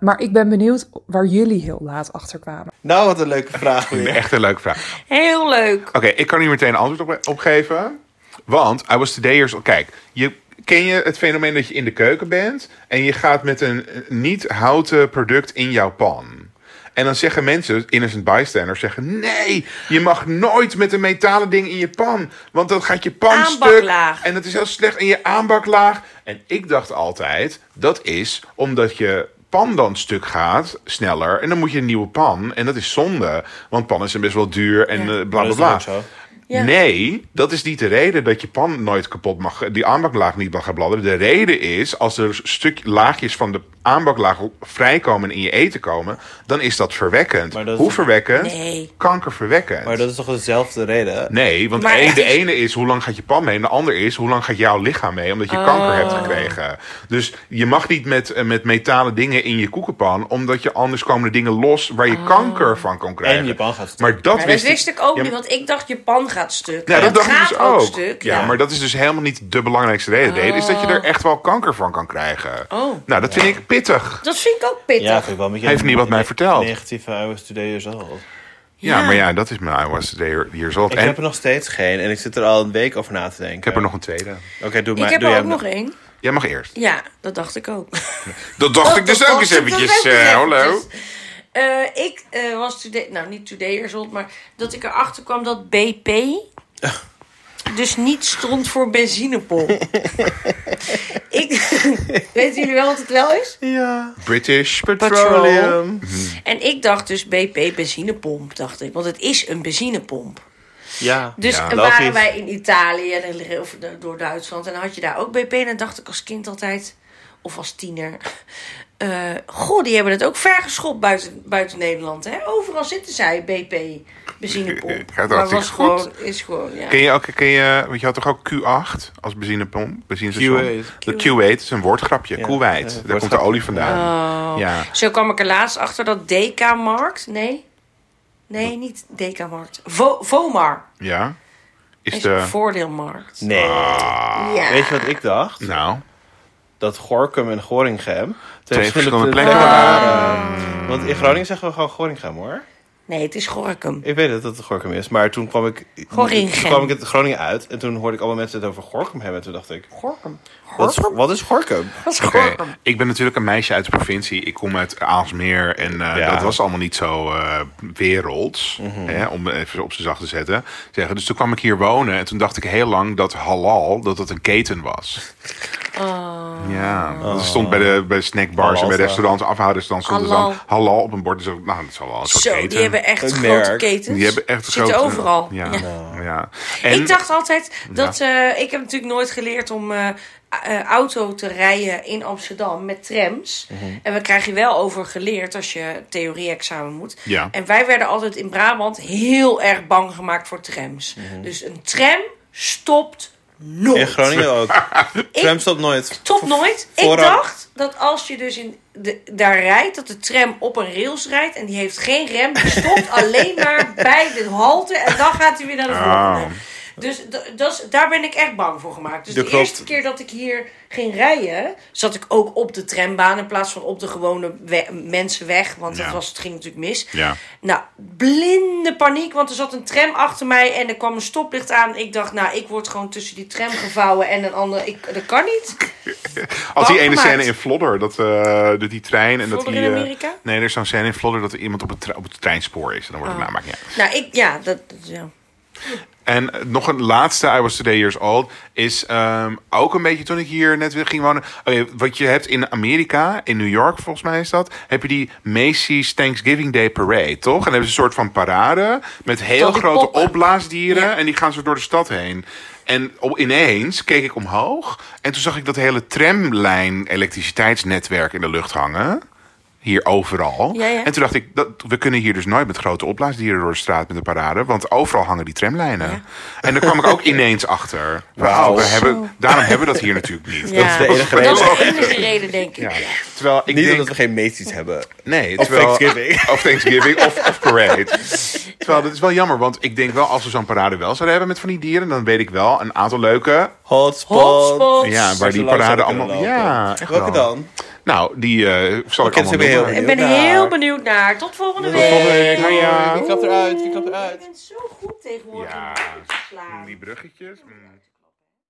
K: maar ik ben benieuwd waar jullie heel laat achter kwamen.
A: Nou, wat een leuke vraag weer.
C: Echt een leuke vraag.
D: Heel leuk.
C: Oké, ik kan hier meteen een antwoord op, op geven. Want I was today years... Kijk, je, ken je het fenomeen dat je in de keuken bent... en je gaat met een eh, niet houten product in jouw pan... En dan zeggen mensen, innocent bystanders, zeggen... nee, je mag nooit met een metalen ding in je pan. Want dan gaat je pan stuk.
D: Aanbaklaag.
C: En dat is heel slecht in je aanbaklaag. En ik dacht altijd, dat is omdat je pan dan stuk gaat, sneller. En dan moet je een nieuwe pan. En dat is zonde. Want pan is best wel duur en eh, bla bla
A: Dat is toch
C: bla.
A: ook zo?
L: Ja.
C: Nee, dat is niet de reden dat je pan nooit kapot mag, die aanbaklaag niet mag gaan bladderen. De reden is, als er stuk laagjes van de aanbaklaag vrijkomen en in je eten komen, dan is dat verwekkend.
A: Maar dat is
C: Hoe
A: toch-
C: verwekkend?
B: Nee.
C: Kankerverwekkend.
A: Maar dat is toch dezelfde reden?
C: Nee, want
B: Maar
C: één-
B: echt
C: de
B: is-
C: ene is hoe lang gaat je pan mee, en de ander is hoe lang gaat jouw lichaam mee, omdat je
B: Oh.
C: kanker hebt gekregen. Dus je mag niet met, eh, met metalen dingen in je koekenpan, omdat je anders komen er dingen los waar je kanker van kan krijgen.
A: En je pan gaat stuk.
C: Maar
B: Oh.
C: dat
B: Maar dat
C: wist,
B: wist ik ook
C: Ja,
B: niet, want ik dacht je pan gaat stuk.
C: ja, dat, dacht
B: gaat
C: ik dus ook.
B: stuk.
C: ja, maar dat is dus helemaal niet de belangrijkste reden. De reden is dat je er echt wel kanker van kan krijgen.
B: Oh.
C: Nou, dat vind ik pittig.
B: Dat vind ik ook pittig.
A: Ja, vind ik wel met je.
C: Hij heeft niet wat mij verteld.
A: Negatieve hours today is al.
C: Ja,
B: Ja.
C: maar ja, dat is mijn I was there years old.
A: Ik
C: en
A: heb er nog steeds geen en ik zit er al een week over na te denken.
C: ik heb er nog een tweede.
A: Oké, doe maar.
B: ik heb
A: doe jij
B: er ook
A: hem
B: nog één.
C: Jij mag eerst.
B: Ja, dat dacht ik ook.
C: Dat dacht ik dus ook eens
B: Oh, Dat dacht
C: eventjes.
B: ik ook
C: eh,
B: eens
C: hallo.
B: eventjes. Eh, ik eh, was today, nou niet today years maar dat ik erachter kwam dat BP dus niet stond voor benzinepomp. ik, weten jullie wel wat het wel is?
A: Ja.
C: British Petroleum.
A: Petroleum.
B: En ik dacht dus BP benzinepomp, dacht ik, want het is een benzinepomp.
A: Ja.
B: Dus
C: Ja,
B: eh,
A: logisch.
B: waren wij in Italië en- of door Duitsland en dan had je daar ook BP. En dan dacht ik als kind altijd, of als tiener... eh, goh, die hebben het ook ver geschopt buiten, buiten Nederland. Hè? Overal zitten zij, BP, benzinepomp.
C: Gaat hartstikke
B: was
C: goed.
B: gewoon, is gewoon, ja.
C: Ken je ook, ken je, want je had toch ook Q8 als benzinepomp? Benzinestation?
A: Q8.
C: Dat Q8 is een woordgrapje.
A: Ja,
C: Koeweit.
A: eh,
C: Daar komt de
A: woordgrapje.
C: olie vandaan. Ja.
B: Zo kwam ik er laatst achter dat DK-markt... Nee, nee, niet DK-markt. Vo, Vomar
C: Ja. Is
B: is een
C: de...
B: voordeelmarkt.
A: Nee.
C: Ah.
B: Ja.
A: Weet je wat ik dacht?
C: Nou,
A: Dat Gorkum en Gorinchem
C: twee verschillende
A: plekken
C: plekken waren.
B: Ah.
A: waren. Want in Groningen zeggen we gewoon Gorinchem hoor.
B: Nee, het is Gorkum.
A: Ik weet het dat het Gorkum is, maar toen kwam ik,
B: Gorinchem.
A: toen kwam ik het Groningen uit en toen hoorde ik allemaal mensen het over Gorkum hebben. En toen dacht ik,
B: Gorkum.
A: wat is, wat is Gorkum?
B: Dat is
C: Oké,
B: Gorkum.
C: ik ben natuurlijk een meisje uit de provincie. Ik kom uit Aalsmeer en eh,
A: Ja.
C: dat was allemaal niet zo eh, werelds,
B: Mhm.
C: hè, om even op zijn zacht te zetten. Zeggen. Dus toen kwam ik hier wonen en toen dacht ik heel lang dat halal, dat dat een keten was.
B: Oh.
C: Ja, dat stond bij de bij snackbars en bij
A: Halal,
C: restaurants, afhouders, dan stond er dan
B: Halal.
C: halal op een bord. Dus ik, nou, dat zal wel een soort
B: Zo,
C: keten.
B: die hebben echt
A: Een
B: grote
A: merk.
B: ketens.
C: Die hebben echt
B: Zitten
C: grote-
B: overal.
C: Ja,
B: Ja.
C: ja. En,
B: ik dacht altijd dat eh, ik heb natuurlijk nooit geleerd om eh, eh, auto te rijden in Amsterdam met trams.
C: Mhm.
B: En we krijgen wel over geleerd als je theorie-examen moet.
C: Ja.
B: En wij werden altijd in Brabant heel erg bang gemaakt voor trams.
C: Mhm.
B: Dus een tram stopt nooit.
A: In Groningen ook. Tram stopt nooit.
B: Top nooit. Ik
A: Voorrang.
B: dacht dat als je dus in de, daar rijdt, dat de tram op een rails rijdt en die heeft geen rem. Die stopt alleen maar bij de halte en dan gaat hij weer naar de volgende.
C: Ah.
B: Dus d- dat is- daar ben ik echt bang voor gemaakt. Dus
A: Dat
B: de
A: klopt.
B: eerste keer dat ik hier ging rijden, zat ik ook op de trambaan in plaats van op de gewone we- mensenweg. Want
C: Ja.
B: dat was, het ging natuurlijk mis.
C: Ja.
B: Nou, blinde paniek, want er zat een tram achter mij en er kwam een stoplicht aan. Ik dacht, nou, ik word gewoon tussen die tram gevouwen en een ander. Ik, dat kan niet.
C: Als die ene
B: gemaakt.
C: scène in Vlodder, dat, eh, dat die trein... En dat
B: Vlodder
C: die,
B: in
C: eh,
B: Amerika?
C: nee, er is zo'n scène in Vlodder dat er iemand op het, tre- op het treinspoor is. En dan wordt het namaak, ja.
B: Nou, ik, ja, dat, ja.
C: En eh, nog een laatste, I was today years old, is ehm, ook een beetje toen ik hier net weer ging wonen. Oké, wat je hebt in Amerika, in New York volgens mij is dat, heb je die Macy's Thanksgiving Day Parade, toch? En dan hebben ze een soort van parade met heel
B: Van die
C: grote
B: poppen.
C: opblaasdieren
B: Ja.
C: en die gaan zo door de stad heen. En op- ineens keek ik omhoog en toen zag ik dat hele tramlijn elektriciteitsnetwerk in de lucht hangen. Hier overal.
B: Ja, ja.
C: En toen dacht ik, dat, we kunnen hier dus nooit met grote opblaasdieren door de straat met een parade. Want overal hangen die tramlijnen. En daar kwam ik ook ineens achter. Wauw, we hebben, daarom hebben we dat hier natuurlijk niet.
B: Ja.
A: de enige
B: Dat is
A: reden.
B: de enige reden, denk ik.
C: Ja. Terwijl ik
A: Niet
C: denk,
A: omdat we geen meetsies hebben.
C: nee,
A: Of
C: terwijl,
A: Thanksgiving.
C: Of Thanksgiving, of, of parade. Terwijl, dat is wel jammer, want ik denk wel als we zo'n parade wel zouden hebben met van die dieren, dan weet ik wel een aantal leuke.
A: Hotspot.
B: Hotspot.
C: Ja, waar die
A: Zolang ze kunnen
C: parade allemaal.
A: lopen.
C: Ja, echt
A: Welke
C: wel.
A: dan?
C: Nou, die eh, zal ik
A: ken ze
C: allemaal
A: weer heel
C: noemen.
A: erg.
B: Ik ben
A: Heel
B: heel
A: raar.
B: benieuwd naar. Tot volgende
A: Tot volgende
B: week.
A: week.
C: Hoi.
A: Wie klapt eruit? Wie klapt
B: Je
A: eruit?
B: bent zo goed tegenwoordig.
C: Ja.
B: om te slaan.
C: Die bruggetjes. mm.